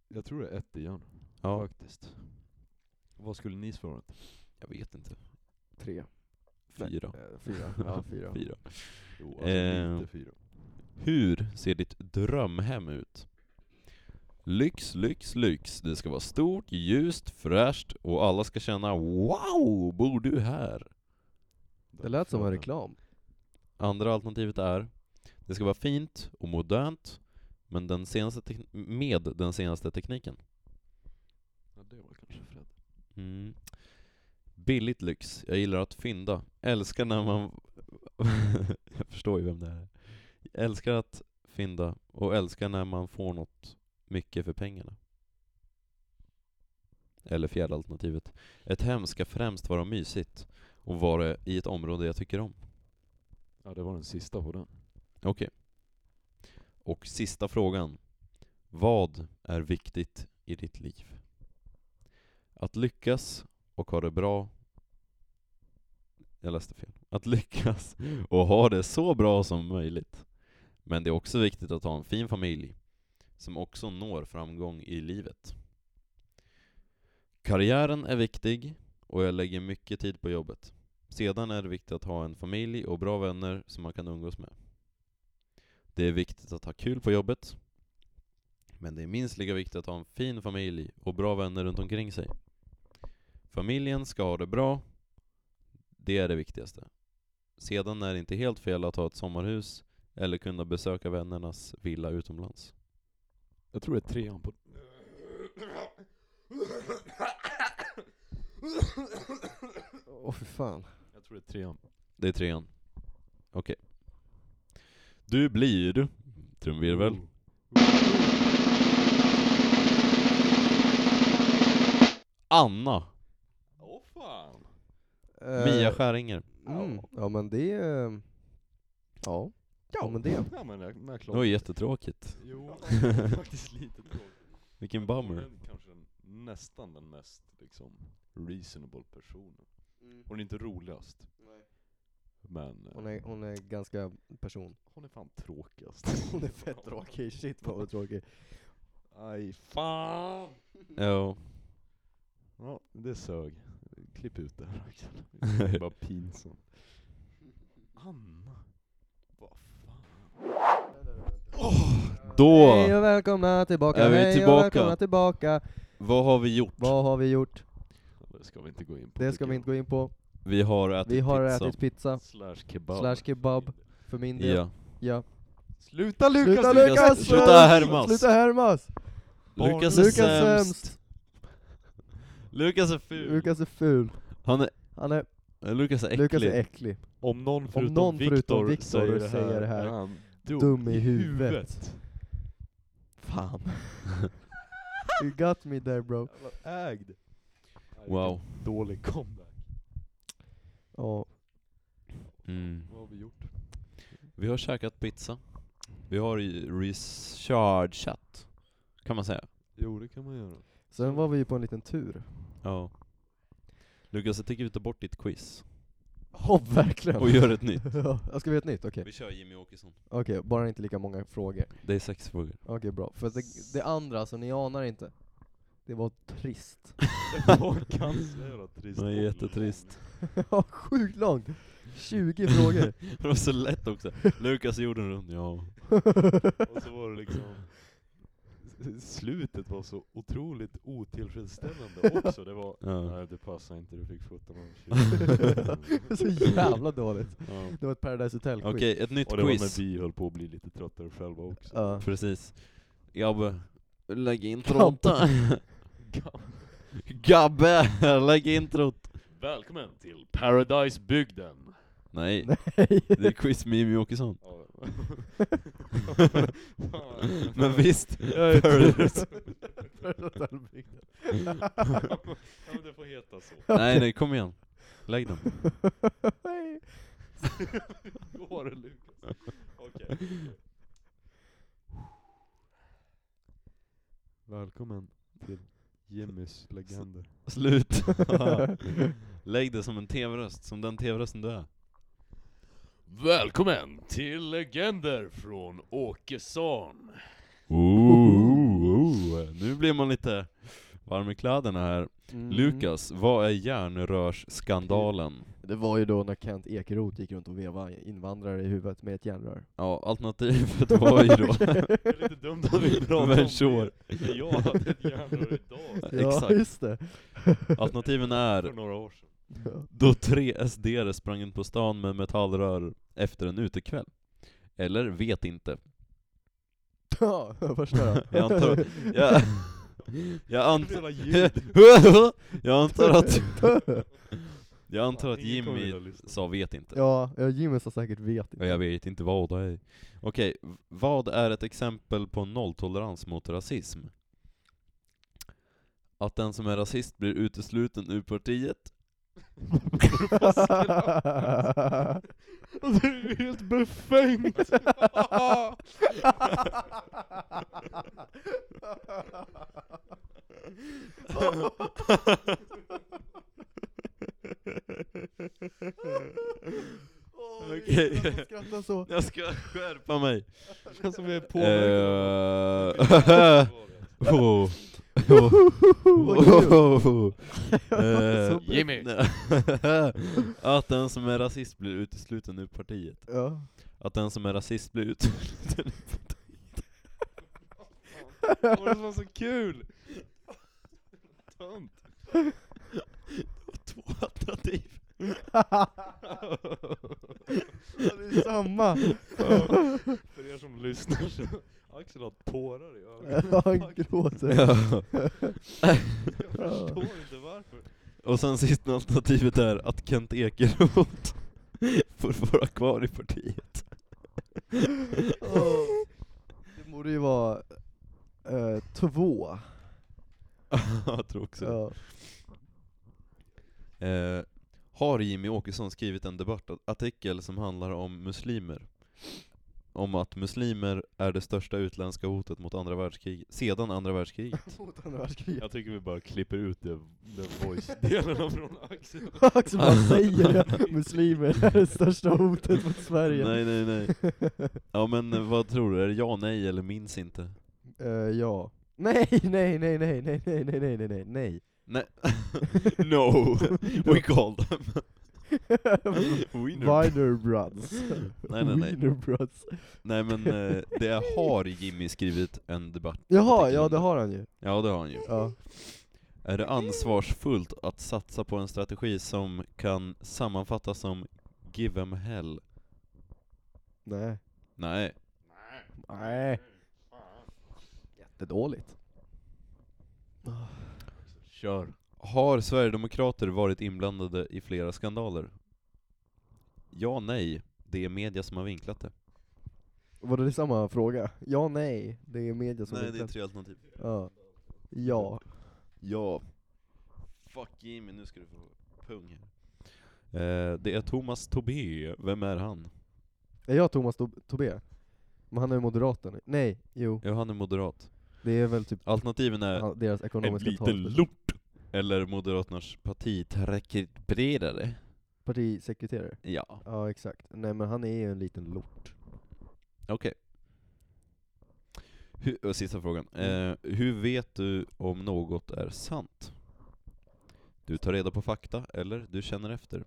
Jag tror det är ett igen. Ja. Faktiskt. Vad skulle ni svara? Jag vet inte. Tre. Fyra. Eh, Fyra. Ja, fyra. Fyra. Jo, alltså Ehm. Eh. inte fyra. Hur ser ditt drömhem ut? Lyx, lyx, lyx. Det ska vara stort, ljust, fräscht och alla ska känna Wow, bor du här? Det lät som en reklam. Andra alternativet är Det ska vara fint och modernt men den senaste tek- med den senaste tekniken. Ja, det var kanske Fred. Mm. Billigt lyx. Jag gillar att fynda. Älskar när man... jag förstår ju vem det här är. Älskar att fynda och älskar när man får något mycket för pengarna. Eller fjärde alternativet. Ett hem ska främst vara mysigt och vara i ett område jag tycker om. Ja, det var den sista på den. Okej. Och sista frågan. Vad är viktigt i ditt liv? Att lyckas och ha det bra. Jag läste fel. Att lyckas och ha det så bra som möjligt. Men det är också viktigt att ha en fin familj som också når framgång i livet. Karriären är viktig och jag lägger mycket tid på jobbet. Sedan är det viktigt att ha en familj och bra vänner som man kan umgås med. Det är viktigt att ha kul på jobbet. Men det är minst lika viktigt att ha en fin familj och bra vänner runt omkring sig. Familjen ska ha det bra. Det är det viktigaste. Sedan är det inte helt fel att ha ett sommarhus eller kunna besöka vännernas villa utomlands. Jag tror det är trean på Åh för fan. Jag tror det är trean. Det är trean. Okej. Du blir... Trumvirvel. Mm. Mm. Anna. Åh fan! Eh, Mia Skäringer. mm. Ja men det... eh, Ja. Ja men det. Ja men jag, jag Det var jättetråkigt. Jo, det är faktiskt lite tråkigt. Vilken bummer. Men Kanske den, nästan den mest liksom reasonable personen. Hon är inte roligast. Men eh, Mm. Hon är, hon är ganska person. hon är fan tråkigast. Hon är fett tråkig, shit vad hon är tråkig. Aj fan! Ja. Ja, det sög. Klipp ut det här Axel. Det är bara pinsamt. Anna. Vad fan. Då, Hej och välkomna tillbaka, Är vi hej tillbaka? och välkomna tillbaka. vad har vi gjort? Vad har vi gjort? Det ska vi inte gå in på. Det ska vi inte gå in på. Vi har ätit Vi har pizza. ätit pizza, Slash kebab. slash kebab, för min del. Ja. Ja. Sluta Lukas! Sluta Lukas! Lukas! Sluta härmas! Sluta härmas! Lukas är Lukas sämst! sämst! Lukas är ful! Lukas är ful. Han är, Han är, eh, Lukas är äcklig. Lukas är äcklig. Om någon förutom, någon förutom Viktor, Viktor säger, det här, säger det här, är han dum, dum i i huvudet. huvudet. Fan. you got me there bro. Jävla Ägd. Wow. Dålig comeback. Ja. Mm. Vad har vi gjort? Vi har käkat pizza. Vi har ju rechargeat, kan man säga. Jo, det kan man göra. Sen var vi ju på en liten tur. Ja. Lukas, jag tycker vi tar bort ditt quiz Ja, verkligen. och gör ett nytt. ja, ska vi göra ett nytt? Okej. Vi kör Jimmy Åkesson. Okej, bara inte lika många frågor. Det är sex frågor. Okej, bra. För det, det andra, så ni anar inte. Det var trist. Jag kan säga det, trist. Det är jättetrist. Ja, sjukt långt! 20 frågor. Det var så lätt också. Lukas gjorde en rund, ja. Och så var det liksom... Slutet var så otroligt otillfredsställande också. Det var... ja. Nej, det passar inte. Du fick 17 av 20. så jävla dåligt. ja. Det var ett Paradise Hotel Okej, Okej. ett nytt Och det var quiz. när vi höll på att bli lite tröttare själva också. Ja. Precis. Gabbe, lägg introt. Kamp. Gabbe, lägg introt. Välkommen till Paradisebygden! Nej, Nej. det är quiz med Jimmy Åkesson. Ja. Men visst, Jag är Paradise- Hotelbygden. ja, men det får heta så. Nej nej, kom igen. Lägg dem. Går det Lukas? Okej. Välkommen till Jimmys legender. Slut. Lägg det som en tv-röst, som den tv-rösten du är. Välkommen till legender från Åkesson. Nu blir man lite varm i kläderna här. Mm. Lukas, vad är järnrörsskandalen? Det var ju då när Kent Ekeroth gick runt och vevade invandrare i huvudet med ett järnrör. Ja, alternativet var ju då... Det är lite dumt att vi pratar om Men det. sure. Jag hade ett järnrör idag Ja, Exakt. just det. Alternativen för är några år sedan. då tre SDR sprang in på stan med metallrör efter en utekväll. Eller vet inte. Ja, första då. Jag antar, jag, jag antar, Hela ljud. jag antar att, jag antar att Jimmy sa vet inte. Ja, ja, Jimmy sa säkert vet Ja, inte. jag vet inte vad det är. Okej, v- vad är ett exempel på nolltolerans mot rasism? Att den som är rasist blir utesluten ur partiet? Alltså, Alltså, Det är helt befängt! Okej. Skratta så. Jag ska skärpa mig. Som är Eh, oh. Oh. Eh, Jimmy! Att den som är rasist blir utesluten ur partiet. Ja. Att den som är rasist blir utesluten. Det var så kul! Tönt! Två alternativ. Ja, Det är samma. För er som lyssnar så, Axel har tårar i ögonen. Ja, Han gråter. Ja. Jag förstår inte varför. Och sen sista alternativet är att Kent Ekeroth får vara kvar i partiet. Åh. Det borde ju vara eh, två. Jag tror också det. Ja. eh, Har Jimmy Åkesson skrivit en debattartikel som handlar om muslimer? Om att muslimer är det största utländska hotet mot andra världskriget, sedan andra världskriget. Mot andra världskriget. Jag tycker vi bara klipper ut det, den voice-delen från Axel. Axel bara säger det. Muslimer är det största hotet mot Sverige. nej, nej, nej. Ja men eh, vad tror du? Är det ja, nej eller minns inte? Eh, ja. Nej, nej, nej, nej, nej, nej, nej, nej, nej, nej, nej. Nej. no, we called them. Wiener. Viner Brothers. Nej, nej, nej. Wiener Brothers. Nej men eh, det är, har Jimmy skrivit en debatt Jaha, artikel ja om det har han ju. Ja det har han ju. Ja. Är det ansvarsfullt att satsa på en strategi som kan sammanfattas som 'give em hell'? Nej. Nej. Nej. Jättedåligt. Kör. Har Sverigedemokrater varit inblandade i flera skandaler? Ja, nej. Det är media som har vinklat det. Var det samma fråga? Ja, nej. Det är media som Nej, det är vinklar. tre alternativ. Ja. Ja. Ja. Fuck Jimmy, nu ska du få pung här. Eh, det är Thomas Tobé. Vem är han? Är jag Thomas Tob- Tobé? Men han är ju moderaten. Nej, jo. Ja, han är moderat. Det är väl typ Alternativen är han- deras en ekonomiska liten talsperson. lort eller Moderaternas partiträckbredare. Partisekreterare. Ja, Ja, exakt. Nej men han är ju en liten lort. okej. Hu- och Sista frågan. Eh, hur vet du om något är sant? Du tar reda på fakta, eller du känner efter.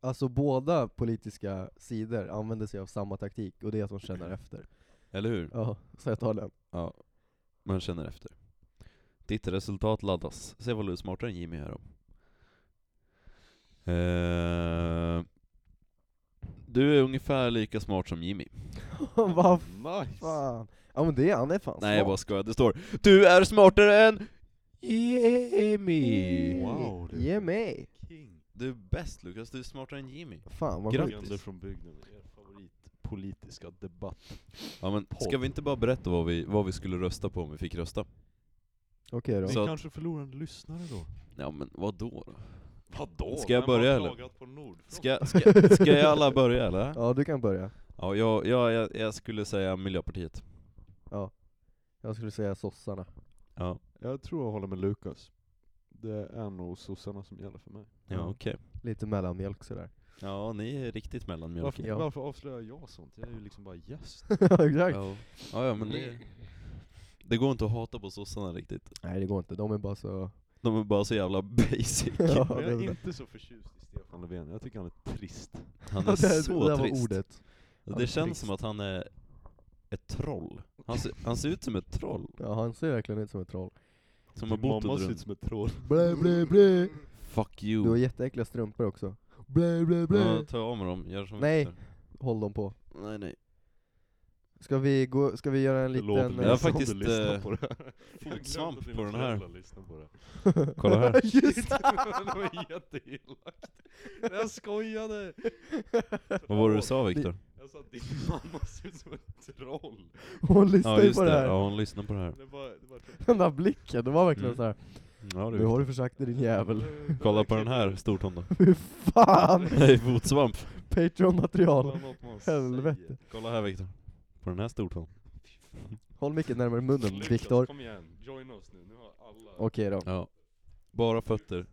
Alltså båda politiska sidor använder sig av samma taktik, och det är att de känner efter. Eller hur? Ja, så jag tar den. Ja, man känner efter. Ditt resultat laddas. Se vad du är smartare än Jimmy här då. Eh, du är ungefär lika smart som Jimmy. Vad Nice! fan? Ja men det, han är fan Nej jag bara smart. skojar, det står Du är smartare än Jimmy! Wow, det är Ge mig! King. Du är bäst Lukas, du är smartare än Jimmy. Fan vad Grattis. sjukt. Legender från bygden. Er favoritpolitiska debatt. Ja men ska vi inte bara berätta vad vi, vad vi skulle rösta på om vi fick rösta? Okej då. Så att- kanske förlorar en lyssnare då. Ja men vad då? då? Vadå? Ska jag Vem börja, har eller? klagat På Nord? Ska, ska, ska jag alla börja eller? Ja du kan börja. Ja, jag, jag, jag, jag skulle säga Miljöpartiet. Jag skulle säga sossarna. Ja, Jag tror jag håller med Lukas. Det är nog sossarna som gäller för mig. ja okej. Lite mellanmjölk sådär. Ja, ni är riktigt mellanmjölk. Varför, Ja. varför avslöjar jag sånt? Jag är ju liksom bara gäst. ja exakt. Ja. ja, ja men det, det går inte att hata på sossarna riktigt. Nej det går inte, de är bara så... De är bara så jävla basic. Ja, Men jag det- är inte så förtjust i Stefan Löfven, jag tycker han är trist. Han är det, här- så det där trist. var ordet. Det Han är känns trist. som att han är ett troll. Han, ser- han ser ut som ett troll. Ja han ser verkligen ut som ett troll. Som har bott Mamma under ser en... ut som ett troll. Blä, blä, blä. Fuck Du har you. jätteäckliga strumpor också. Blä, blä, blä. Ja, ta av med dem, gör som Nej. Victor. Håll dem på. Nej nej. Ska vi, gå, ska vi göra en Förlåt, liten... men Jag har som eh, faktiskt, du lyssnar eh, på det här. Jag glömde fotsvamp att dina på den här. föräldrar lyssnar på det. Kolla här. Just det! Det var jätteelakt. Jag skojade! Vad var det du sa Viktor? Jag sa att din mamma ser ut som ett troll. Hon lyssnar Ja ju just på det det, här. ja hon lyssnar på det här. Det var, det var typ- Den där blicken, det var verkligen Mm. så här. Ja, Nu du. har du försökt det din jävel. Det- det Kolla där på den klippet här stortån Fy fan! Nej, fotsvamp. Patreon-material. var något man Helvete. säger. Kolla här Viktor. På den här stortån. Håll mycket närmare munnen, Lukas, Viktor. kom igen. Join oss nu. Nu har alla... Okej då. Ja. Bara fötter.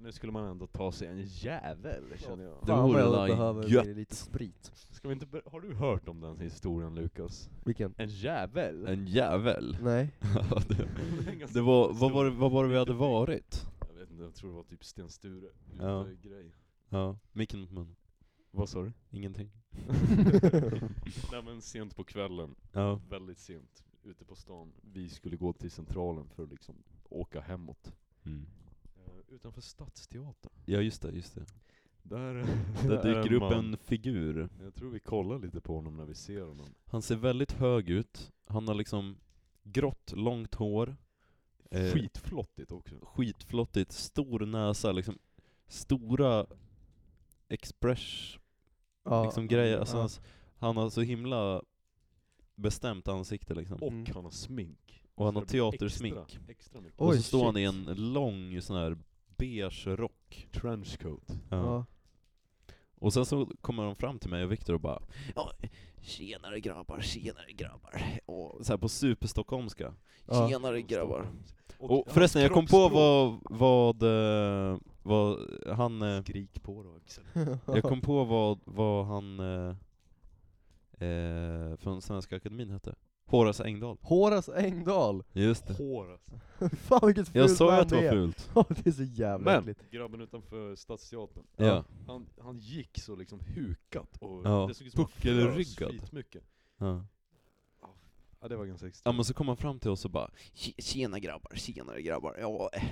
Nu skulle man ändå ta sig en jävel, känner jag. Det Fan vad vore jag la behöver gött. lite sprit. Ska vi inte ber- har du hört om den historien, Lukas? Vilken? En jävel? En jävel. Nej. Ja, det, Det är en ganska det var, stor- vad, var det, vad var det vi hade varit? Jag vet inte, jag tror det var typ Sten Sture. Ja. Ute grej. Ja, micken mot munnen. Vad sa du? Ingenting. Nej men sent på kvällen, Ja. väldigt sent, ute på stan. Vi skulle gå till centralen för att liksom åka hemåt. Eh, Utanför Stadsteatern. Mm. Ja just det, just det. Där, Där är dyker upp man. en figur. Jag tror vi kollar lite på honom när vi ser honom. Han ser väldigt hög ut. Han har liksom grått, långt hår. Eh. Skitflottigt också. Skitflottigt, stor näsa, liksom stora express Ja. liksom grejer. Alltså, ja. han, s- han har så himla bestämt ansikte liksom. Och Mm. han har smink. Och han har Så det blir teatersmink. Extra, extra mycket. och Oj, så står han i shit. en lång sån här beige rock. Trenchcoat. Ja. Och sen så kommer de fram till mig och Viktor och bara ja, ”Tjenare grabbar, tjenare grabbar” och så här på superstockholmska. Ja. ”Tjenare grabbar”. Och, Och hans förresten, jag kom på kroppsspråk. vad, vad, eh, vad han, eh, Skrik på då Axel. jag kom på vad, vad han eh, eh, från Svenska Akademin hette. Horace Engdahl. Horace Engdahl! Just det. Hår alltså. Fan vilket fult Jag sa ju namn att det var är. fult. Ja, det är så jävla Men- äckligt. Grabben utanför Stadsteatern. Ja. Han, han gick så liksom hukat och Ja, det såg ut som att han frös puckelryggad. skitmycket. ja. Ja det var ganska Ja extremt. men så kom han fram till oss och bara "Tje- ”Tjena grabbar, tjenare grabbar, ja, eh,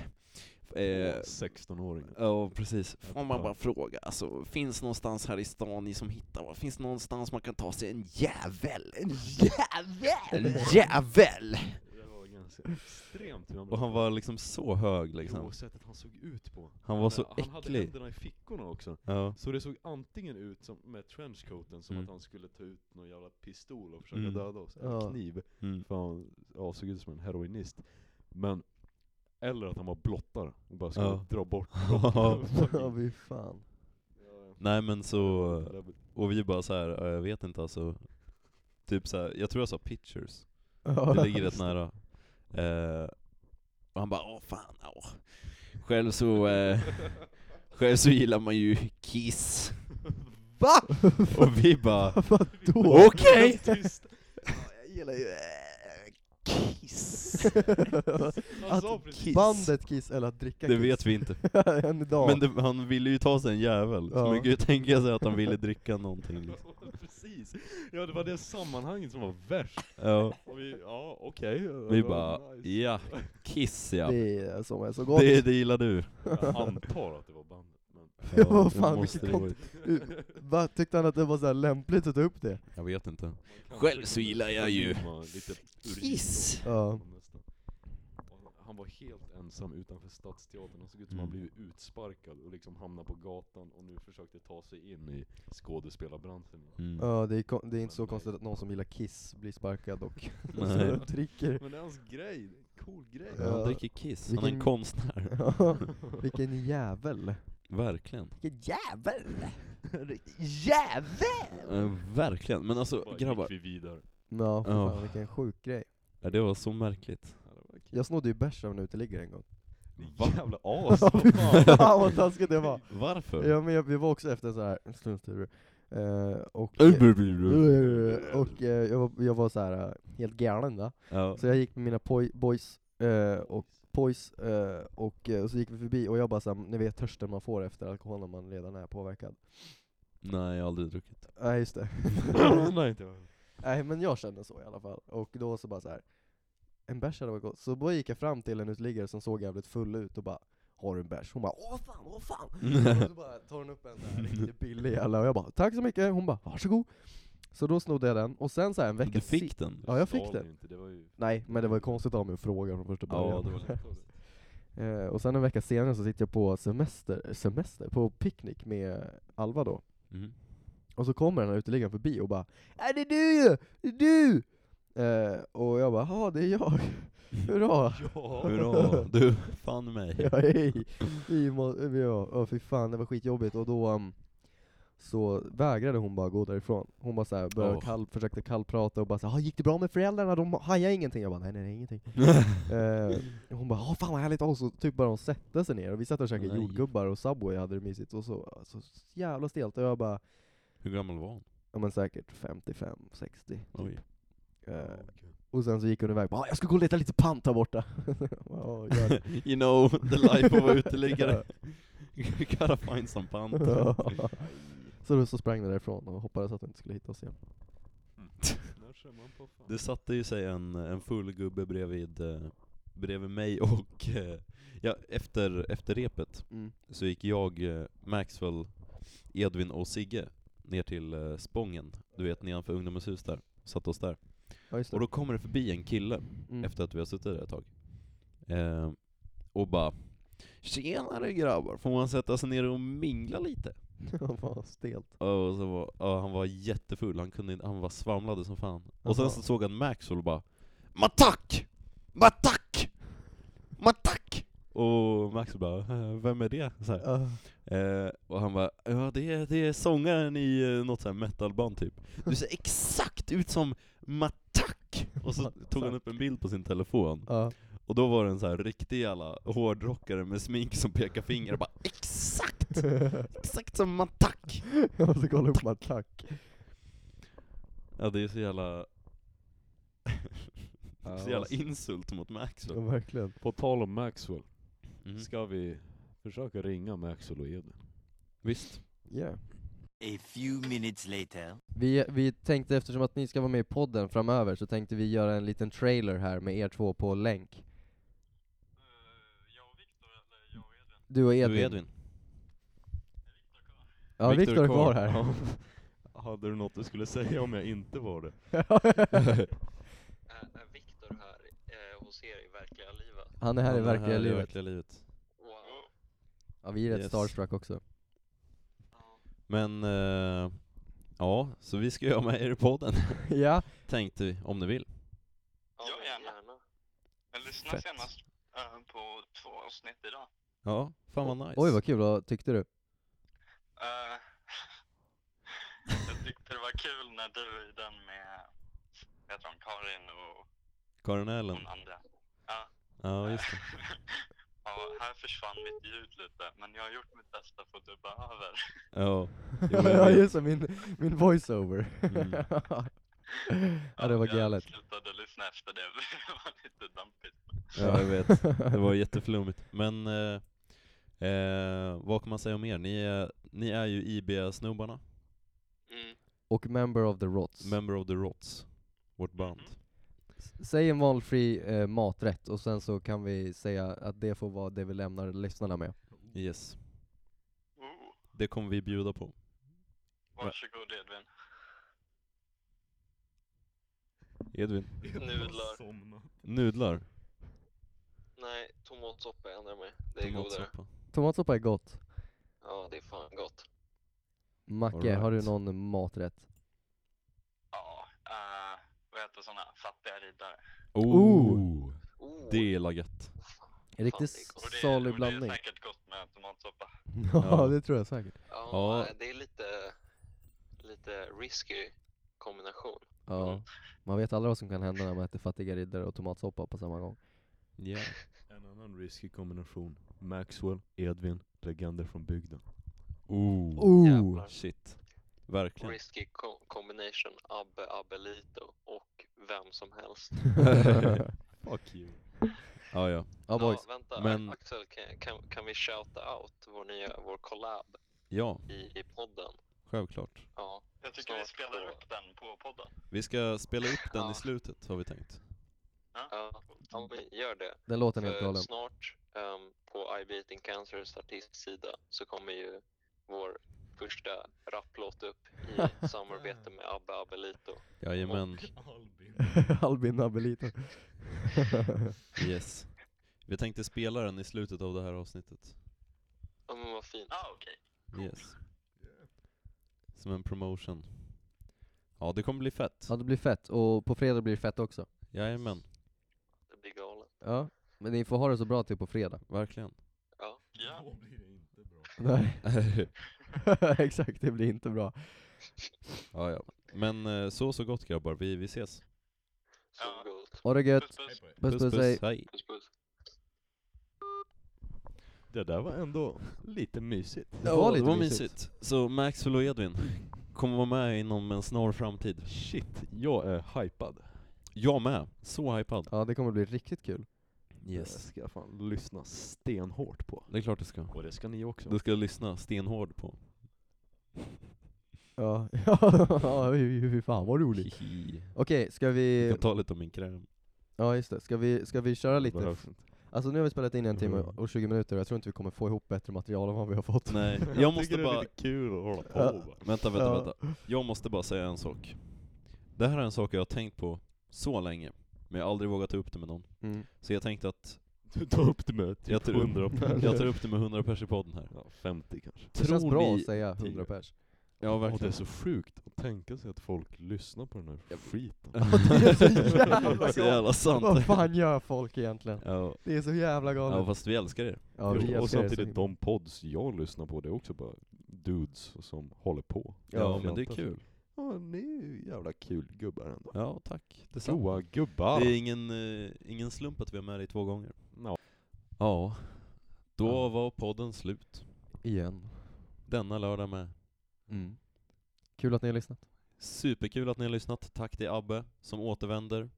Eh, 16-åringar. Ja, precis. Får man bara fråga, alltså, finns någonstans här i stan ni som hittar va? Finns någonstans man kan ta sig en jävel? En jävel! En jävel! Det var ganska extremt hur han Och han var liksom så hög Jo, liksom. sättet han såg ut på. Han var Men så Han hade äcklig. händerna i fickorna också. Ja. Så det såg antingen ut som, med trenchcoaten som Mm. att han skulle ta ut någon jävla pistol och försöka Mm. döda oss, Ja. eller kniv. Mm. För han ja, såg ut som en heroinist. Men, eller att han var blottare och bara skulle Ja. dra bort Ja, fy fan. Nej men så, Det var- och vi bara så här, ja, jag vet inte alltså. Typ så här, jag tror jag sa pictures. Ja. Det ligger rätt nära. Eh, och han bara åh fan, åh. Själv så, eh, själv så gillar man ju Kiss. Va? Och vi bara Vadå? okej! Jag gillar ju... eh, Kiss. Han sa precis Kiss. Bandet Kiss eller att dricka Det Kiss? vet vi inte. Än idag. Men det, han ville ju ta sig en jävel. Så Ja. man kan ju tänka sig att han ville dricka någonting. liksom. Precis! Ja det var det sammanhanget som var värst. Ja, Och vi, ja okej. vi det var bara nice. ja, Kiss ja. Det är som är så gott. Det, det gillar du. Jag antar att det var bandet. Men Ja, Ja, det fan, måste vilket det varit. Va, tyckte han att det var så här lämpligt att ta upp det? Jag vet inte. man Själv kanske så kunde gillar jag ju stämma lite urin Kiss. och- Ja. nästan. Och Han var helt ensam utanför Stadsteatern, han såg ut som han Mm. blivit utsparkad och liksom hamnade på gatan och nu försökte ta sig in i skådespelarbranschen. igen. Mm. Ja, det är, kon- det är inte så konstigt att någon som gillar Kiss blir sparkad och Nej. dricker. Men det är hans grej, det är en cool grej. Han Ja. dricker Kiss, han är en Vilken- konstnär. Ja, vilken jävel. Verkligen. Vilken jävel! Jävel! Eh, verkligen. Men alltså Bara grabbar, gick vi vidare. Ja, för Ja. fan vilken sjuk grej. ja, det var så märkligt. Ja, det var kul. Jag snodde ju bärs av en uteliggare en gång. Va? Jävla as! Ja, vad fy fan. fan vad taskigt det var. Varför? Alltså. Ja, men jag, vi var också efter en sån här stundstur. Eh, och Ur, eh, bur, bur, bur. och eh, jag, var, jag var så här eh, helt galen va? Ja. Så jag gick med mina poj, boys eh, och boys eh, och, eh, och så gick vi förbi och jag bara såhär, ni vet törsten man får efter alkohol när man redan är påverkad. Nej, jag har aldrig druckit. Nej just det. Nej, inte jag. Nej men jag kände så i alla fall. Och då så bara så här. En bärs hade varit gott. Så då gick jag fram till en uteliggare som såg jävligt full ut och bara Har du en bärs? Hon bara Åh fan, åh fan! och så bara tar hon upp en så här riktigt billig jävla och jag bara Tack så mycket! Hon bara Varsågod! Så då snodde jag den och sen så här en vecka Du sen- fick den? Ja jag fick Stal den. ju Inte. Det var ju... Nej men det var ju konstigt av mig att fråga från första början. det var Eh, och sen en vecka senare så sitter jag på semester, semester, på picknick med Alva då. Mm. Och så kommer den här uteliggaren förbi och bara Är det är du ju? Det är du! Eh, och jag bara ja det är jag, hurra! Hurra, du fann mig. ja, hej! Vi må- vi- ja, ja, fy fan det var skitjobbigt och då um, så vägrade hon bara gå därifrån. Hon bara såhär, började Åh. kall, försökte kallprata och bara såhär, "Ah, gick det bra med föräldrarna? De hajar ingenting. Jag bara, nej nej, nej ingenting. Eh, hon bara, "Ah, fan vad härligt, och så typ bara de sätter sig ner och vi satt och käkade Nej. jordgubbar och Subway hade det mysigt och så, så jävla stelt och jag bara, Hur gammal var han? ja men säkert 55, 60. Oj. Eh, och sen så gick hon iväg, bara, "Ah, jag ska gå och leta lite pant där borta. Ja, gör det. You know, the life of a uteliggare. Gotta find some pant. Ja. så då så sprang den därifrån och hoppades att hon inte skulle hitta oss igen. När kör man på fan? Det satte ju sig en, en full gubbe bredvid, eh, bredvid mig och, eh, ja, efter, efter repet Mm. så gick jag, eh, Maxwell, Edvin och Sigge ner till eh, Spången, du vet nedanför Ungdomens hus där, satt oss där. Ja just det. Och då kommer det förbi en kille, Mm. efter att vi har suttit där ett tag. Eh, och bara Tjenare grabbar, får man sätta sig ner och mingla lite? Ja, Vad stelt. Och så var, ja, han var jättefull, han, kunde, inte- han var svamlade som fan. Och sen Jaha. så såg han Maxwell och bara Matak! Matak! Matak! Och Maxwell bara "Eh, Vem är det? Så här. Ja. Eh, och han bara, ja det är, det är sångaren i eh, något sånt här metalband typ. Du ser exakt ut som Matak! Och så tog han upp en bild på sin telefon, Ja. och då var det en så här riktig jävla hårdrockare med smink som pekar finger och bara exakt! Exakt som Matak! jag måste kolla upp man tack. Ja det är så jävla... så jävla alltså. insult mot Ja, Maxwell. verkligen. På tal om Maxwell, Mm. ska vi försöka ringa Maxwell och Edvin? Visst. Yeah. A few minutes later. Vi, vi tänkte, eftersom att ni ska vara med i podden framöver, så tänkte vi göra en liten trailer här med er två på länk. Du och Du Edvin. Eh, Edvin. Ja, Viktor är kvar här. Ja. Hade du något du skulle säga om jag inte var det? Är, är Viktor här eh, hos er i verkliga livet? Han är här i Han är verkliga i livet. verkliga livet. Wow. Ja, vi är rätt Yes. starstruck också. Men, eh, ja, så vi ska göra med er i podden, ja, tänkte vi, om ni vill. Ja, Ja, men gärna. gärna. Jag lyssnade Fett. senast eh, på två avsnitt idag. Ja, fan vad nice. oj vad kul, vad tyckte du? Eh, jag tyckte det var kul när du i den med, vad heter hon, Karin och Karin Allen. hon andra. Ja, just det. ja, här försvann mitt ljud lite, men jag har gjort mitt bästa för att dubba över. Ja. Jo, ja jag vet. just det, min, min voiceover. Mm. ja det var jag galet. slutade lyssna efter det, det var lite dampigt. Ja, jag vet. Det var jätteflummigt. Men, eh, eh, vad kan man säga om er? Ni är, ni är ju IB-snubbarna, Mm. Och member of the Rots. Member of the Rots, vårt band. S- Säg en valfri eh, maträtt och sen så kan vi säga att det får vara det vi lämnar lyssnarna med. Yes. Oh, Det kommer vi bjuda på. varsågod Edvin. Edvin? Nudlar. Nudlar? Nej, tomatsoppa jag ändrar mig. Det är godare. Tomatsoppa? Tomatsoppa är gott. Ja, det är fan gott. Macke, Alright. har du någon maträtt? Ja, eh, vad heter sådana? Fattiga riddare. Oh! Oh, Det är lagett. En riktigt det är gott. Och det, salig och det är blandning. säkert gott med tomatsoppa. ja Ja. det tror jag säkert. ja, Ja. nej, det är lite, lite risky kombination. Ja. Man vet aldrig vad som kan hända när man äter fattiga riddare och tomatsoppa på samma gång. Ja. En annan risky kombination. Maxwell, Edvin, legender från bygden. Oh! Oh! Jävlar. Shit. Verkligen. Risky co- combination Abbe Abbelito och vem som helst. Fuck you. Ja, ja. ja boys. Ja, vänta, men- Axel, kan, kan, kan vi shouta out vår nya, vår collab Ja, i, i podden? självklart. Ja, Jag tycker vi Snart spelar då. upp den på podden. Vi ska spela upp den Ja. i slutet, har vi tänkt. ja, ja men gör det. Den låten är helt För galen. snart ehm, på I Beating Cancers artistsida så kommer ju vår första rapplåt upp i samarbete med Abbe Abbelito. Jajamän. Albin Abelito. Yes. Vi tänkte spela den i slutet av det här avsnittet. Ja men vad fint. Ah, okej. Yes. Som en promotion. Ja, det kommer bli fett. ja det blir fett, och på fredag blir det fett också. Jajamän, Det blir galet. Ja. Men ni får ha det så bra till på fredag. verkligen. Ja. Nej. Exakt, det blir inte bra. Ja, ja. Men eh, så, så gott grabbar. Vi, vi ses. Så Ja. gott. Ha det Puss, gött. puss. Puss puss, hej. hej. Puss puss. Det där var ändå lite mysigt. Det var det lite var mysigt. mysigt. Så Maxwell och Edvin kommer vara med inom en snar framtid. Shit, jag är hypad. Jag med. Så hypad. Ja det kommer bli riktigt kul. Det Yes. ska jag fan lyssna stenhårt på. Det är klart det ska. Och det ska ni också. Det ska jag lyssna stenhård på. Ja, ja fy fy fan vad roligt. Hihi. Okej, ska Jag vi, kan ta lite av min kräm. ja just det, ska vi, ska vi köra lite? Behövs inte. Alltså nu har vi spelat in en timme Mm. och 20 minuter och jag tror inte vi kommer få ihop bättre material än vad vi har fått. Nej, jag tycker måste det är bara... lite kul att hålla på Ja. bara. Vänta, vänta, Ja. vänta. Jag måste bara säga en sak. Det här är en sak jag har tänkt på så länge, men jag har aldrig vågat ta upp det med någon. Mm. Så jag tänkte att Du tar upp det med typ jag tar, 100 upp, pers. jag tar upp det med 100 pers i podden här. Ja, 50 kanske. Det känns Tror bra ni- att säga 100 tio. pers. Ja, Och det är verkligen. så sjukt att tänka sig att folk lyssnar på den här skiten. det är så jävla så jävla Vad sant. fan gör folk egentligen? Ja, Det är så jävla ja, galet. fast vi älskar er. Ja, vi älskar er och så samtidigt, himla- de pods jag lyssnar på, det är också bara dudes som håller på. Ja, men det är kul. Ja, ni är ju jävla kul gubbar ändå. Ja, tack. Detsamma. Goa gubbar! Det är ingen, eh, ingen slump att vi har med dig två gånger. Ja. Ja, då Ja. var podden slut. Igen. Denna lördag med. Mm. Kul att ni har lyssnat. Superkul att ni har lyssnat. Tack till Abbe som återvänder.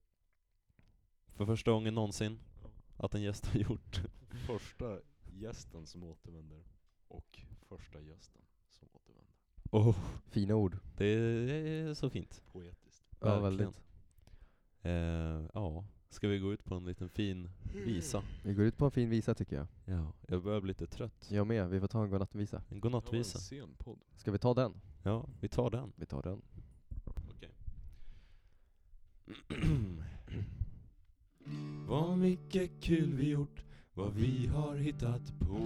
För första gången någonsin att en gäst har gjort. Första gästen som återvänder och första gästen som återvänder. Oh, Fina ord. det är så fint. Poetiskt. Ja, Verkligen. väldigt. Eh, ja, Ska vi gå ut på en liten fin visa? Vi går ut på en fin visa tycker jag. Ja, jag börjar bli lite trött. Jag med, vi får ta en godnattvisa. En Det var en godnattvisa. sen podd. Ska vi ta den? Ja, vi tar den. Vi tar den. Vad mycket kul vi gjort, vad vi har hittat på.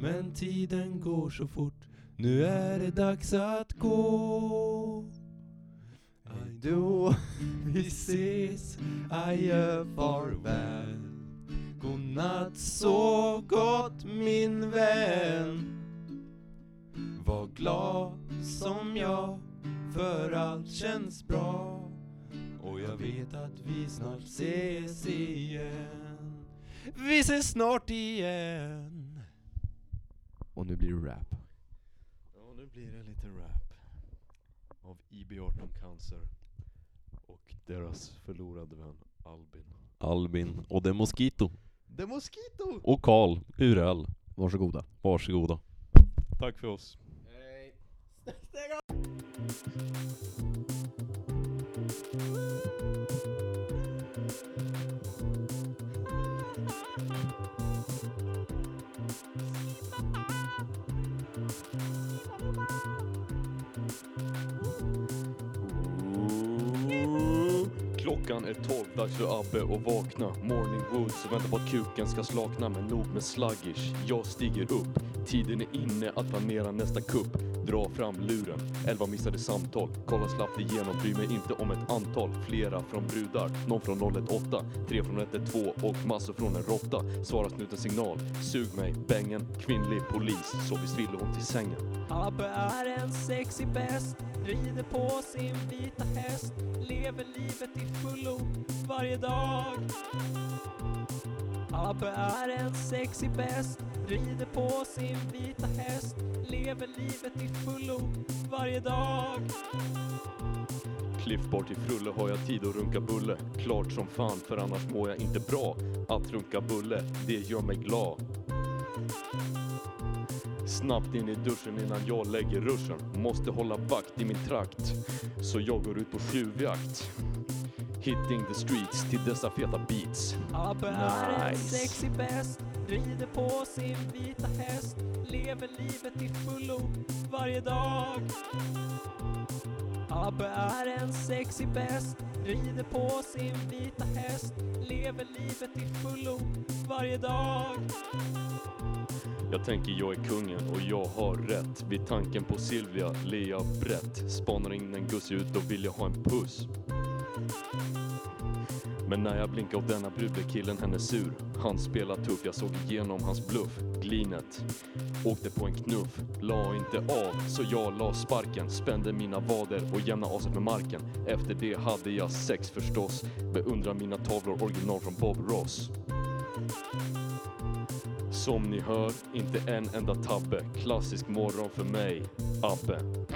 Men tiden går så fort, nu är det dags att gå. Aj då, vi ses, adjö, farväl. Godnatt så gott min vän. Var glad som jag, för allt känns bra. Och jag vet att vi snart ses igen Vi ses snart igen Och nu blir det rap. Ja, nu blir det lite rap. Av IB18 Cancer. Och deras förlorade vän Albin. Albin och The Mosquito The Mosquito! och Karl Uröl Varsågoda. Varsågoda Tack för oss. Klockan är tolv, dags för Abbe att vakna. Morning Woods väntar på att kuken ska slakna, men nog med sluggish. Jag stiger upp. Tiden är inne att planera nästa kupp. Dra fram luren. Elva missade samtal. Kolla slappt igenom, bryr mig inte om ett antal. Flera från brudar, någon från 018, tre från 112 och massor från en råtta. Svara snuten signal. Sug mig, bängen, kvinnlig polis. Så visst ville hon till sängen. Abbe är en sexig bäst, rider på sin vita häst, lever livet i fullo varje dag. Abbe är en sexig bäst, rider på sin vita häst, lever livet i fullo varje dag. Cliff bar till Frulle har jag tid att runka bulle. Klart som fan, för annars mår jag inte bra. Att runka bulle, det gör mig glad. Snabbt in i duschen innan jag lägger ruschen. Måste hålla vakt i min trakt. Så jag går ut på tjuvjakt. Hitting the streets till dessa feta beats. Abbe är en Nice. sexig bäst, rider på sin vita häst, lever livet i fullo varje dag. Abbe är en sexig bäst, rider på sin vita häst, lever livet i fullo varje dag. Jag tänker jag är kungen och jag har rätt. Vid tanken på Silvia ler jag brett. Spanar in en guss ut och vill jag ha en puss. Men när jag blinkar åt denna brud blev killen henne sur. Han spelar tuff, jag såg igenom hans bluff. Glinet. Åkte på en knuff. La inte av, så jag la sparken. Spände mina vader och jämnade aset med marken. Efter det hade jag sex förstås. Beundrar mina tavlor, original från Bob Ross. Som ni hör, inte en enda tabbe. Klassisk morgon för mig, Abbe.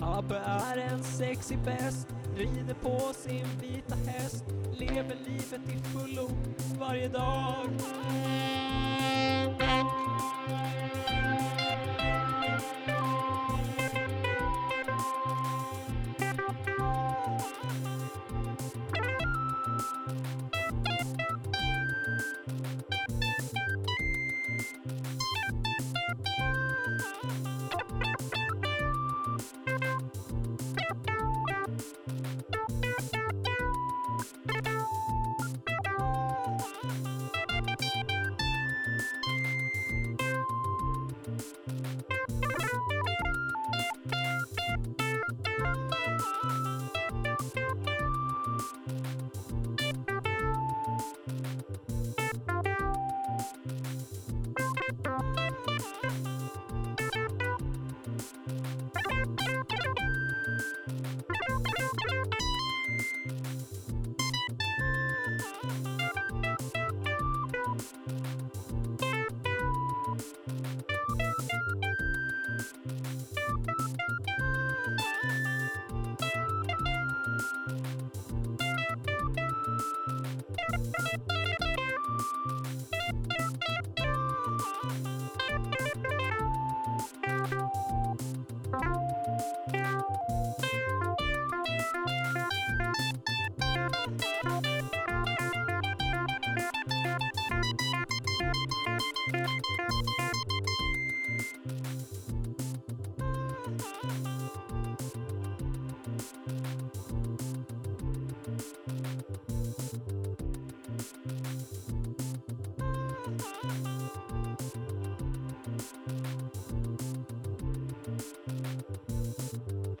Abbe är en sexig bäst, rider på sin vita häst, lever livet i fullo varje dag.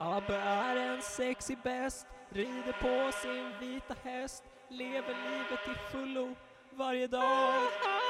Abbe är en sexig bäst, rider på sin vita häst, lever livet till fullo varje dag.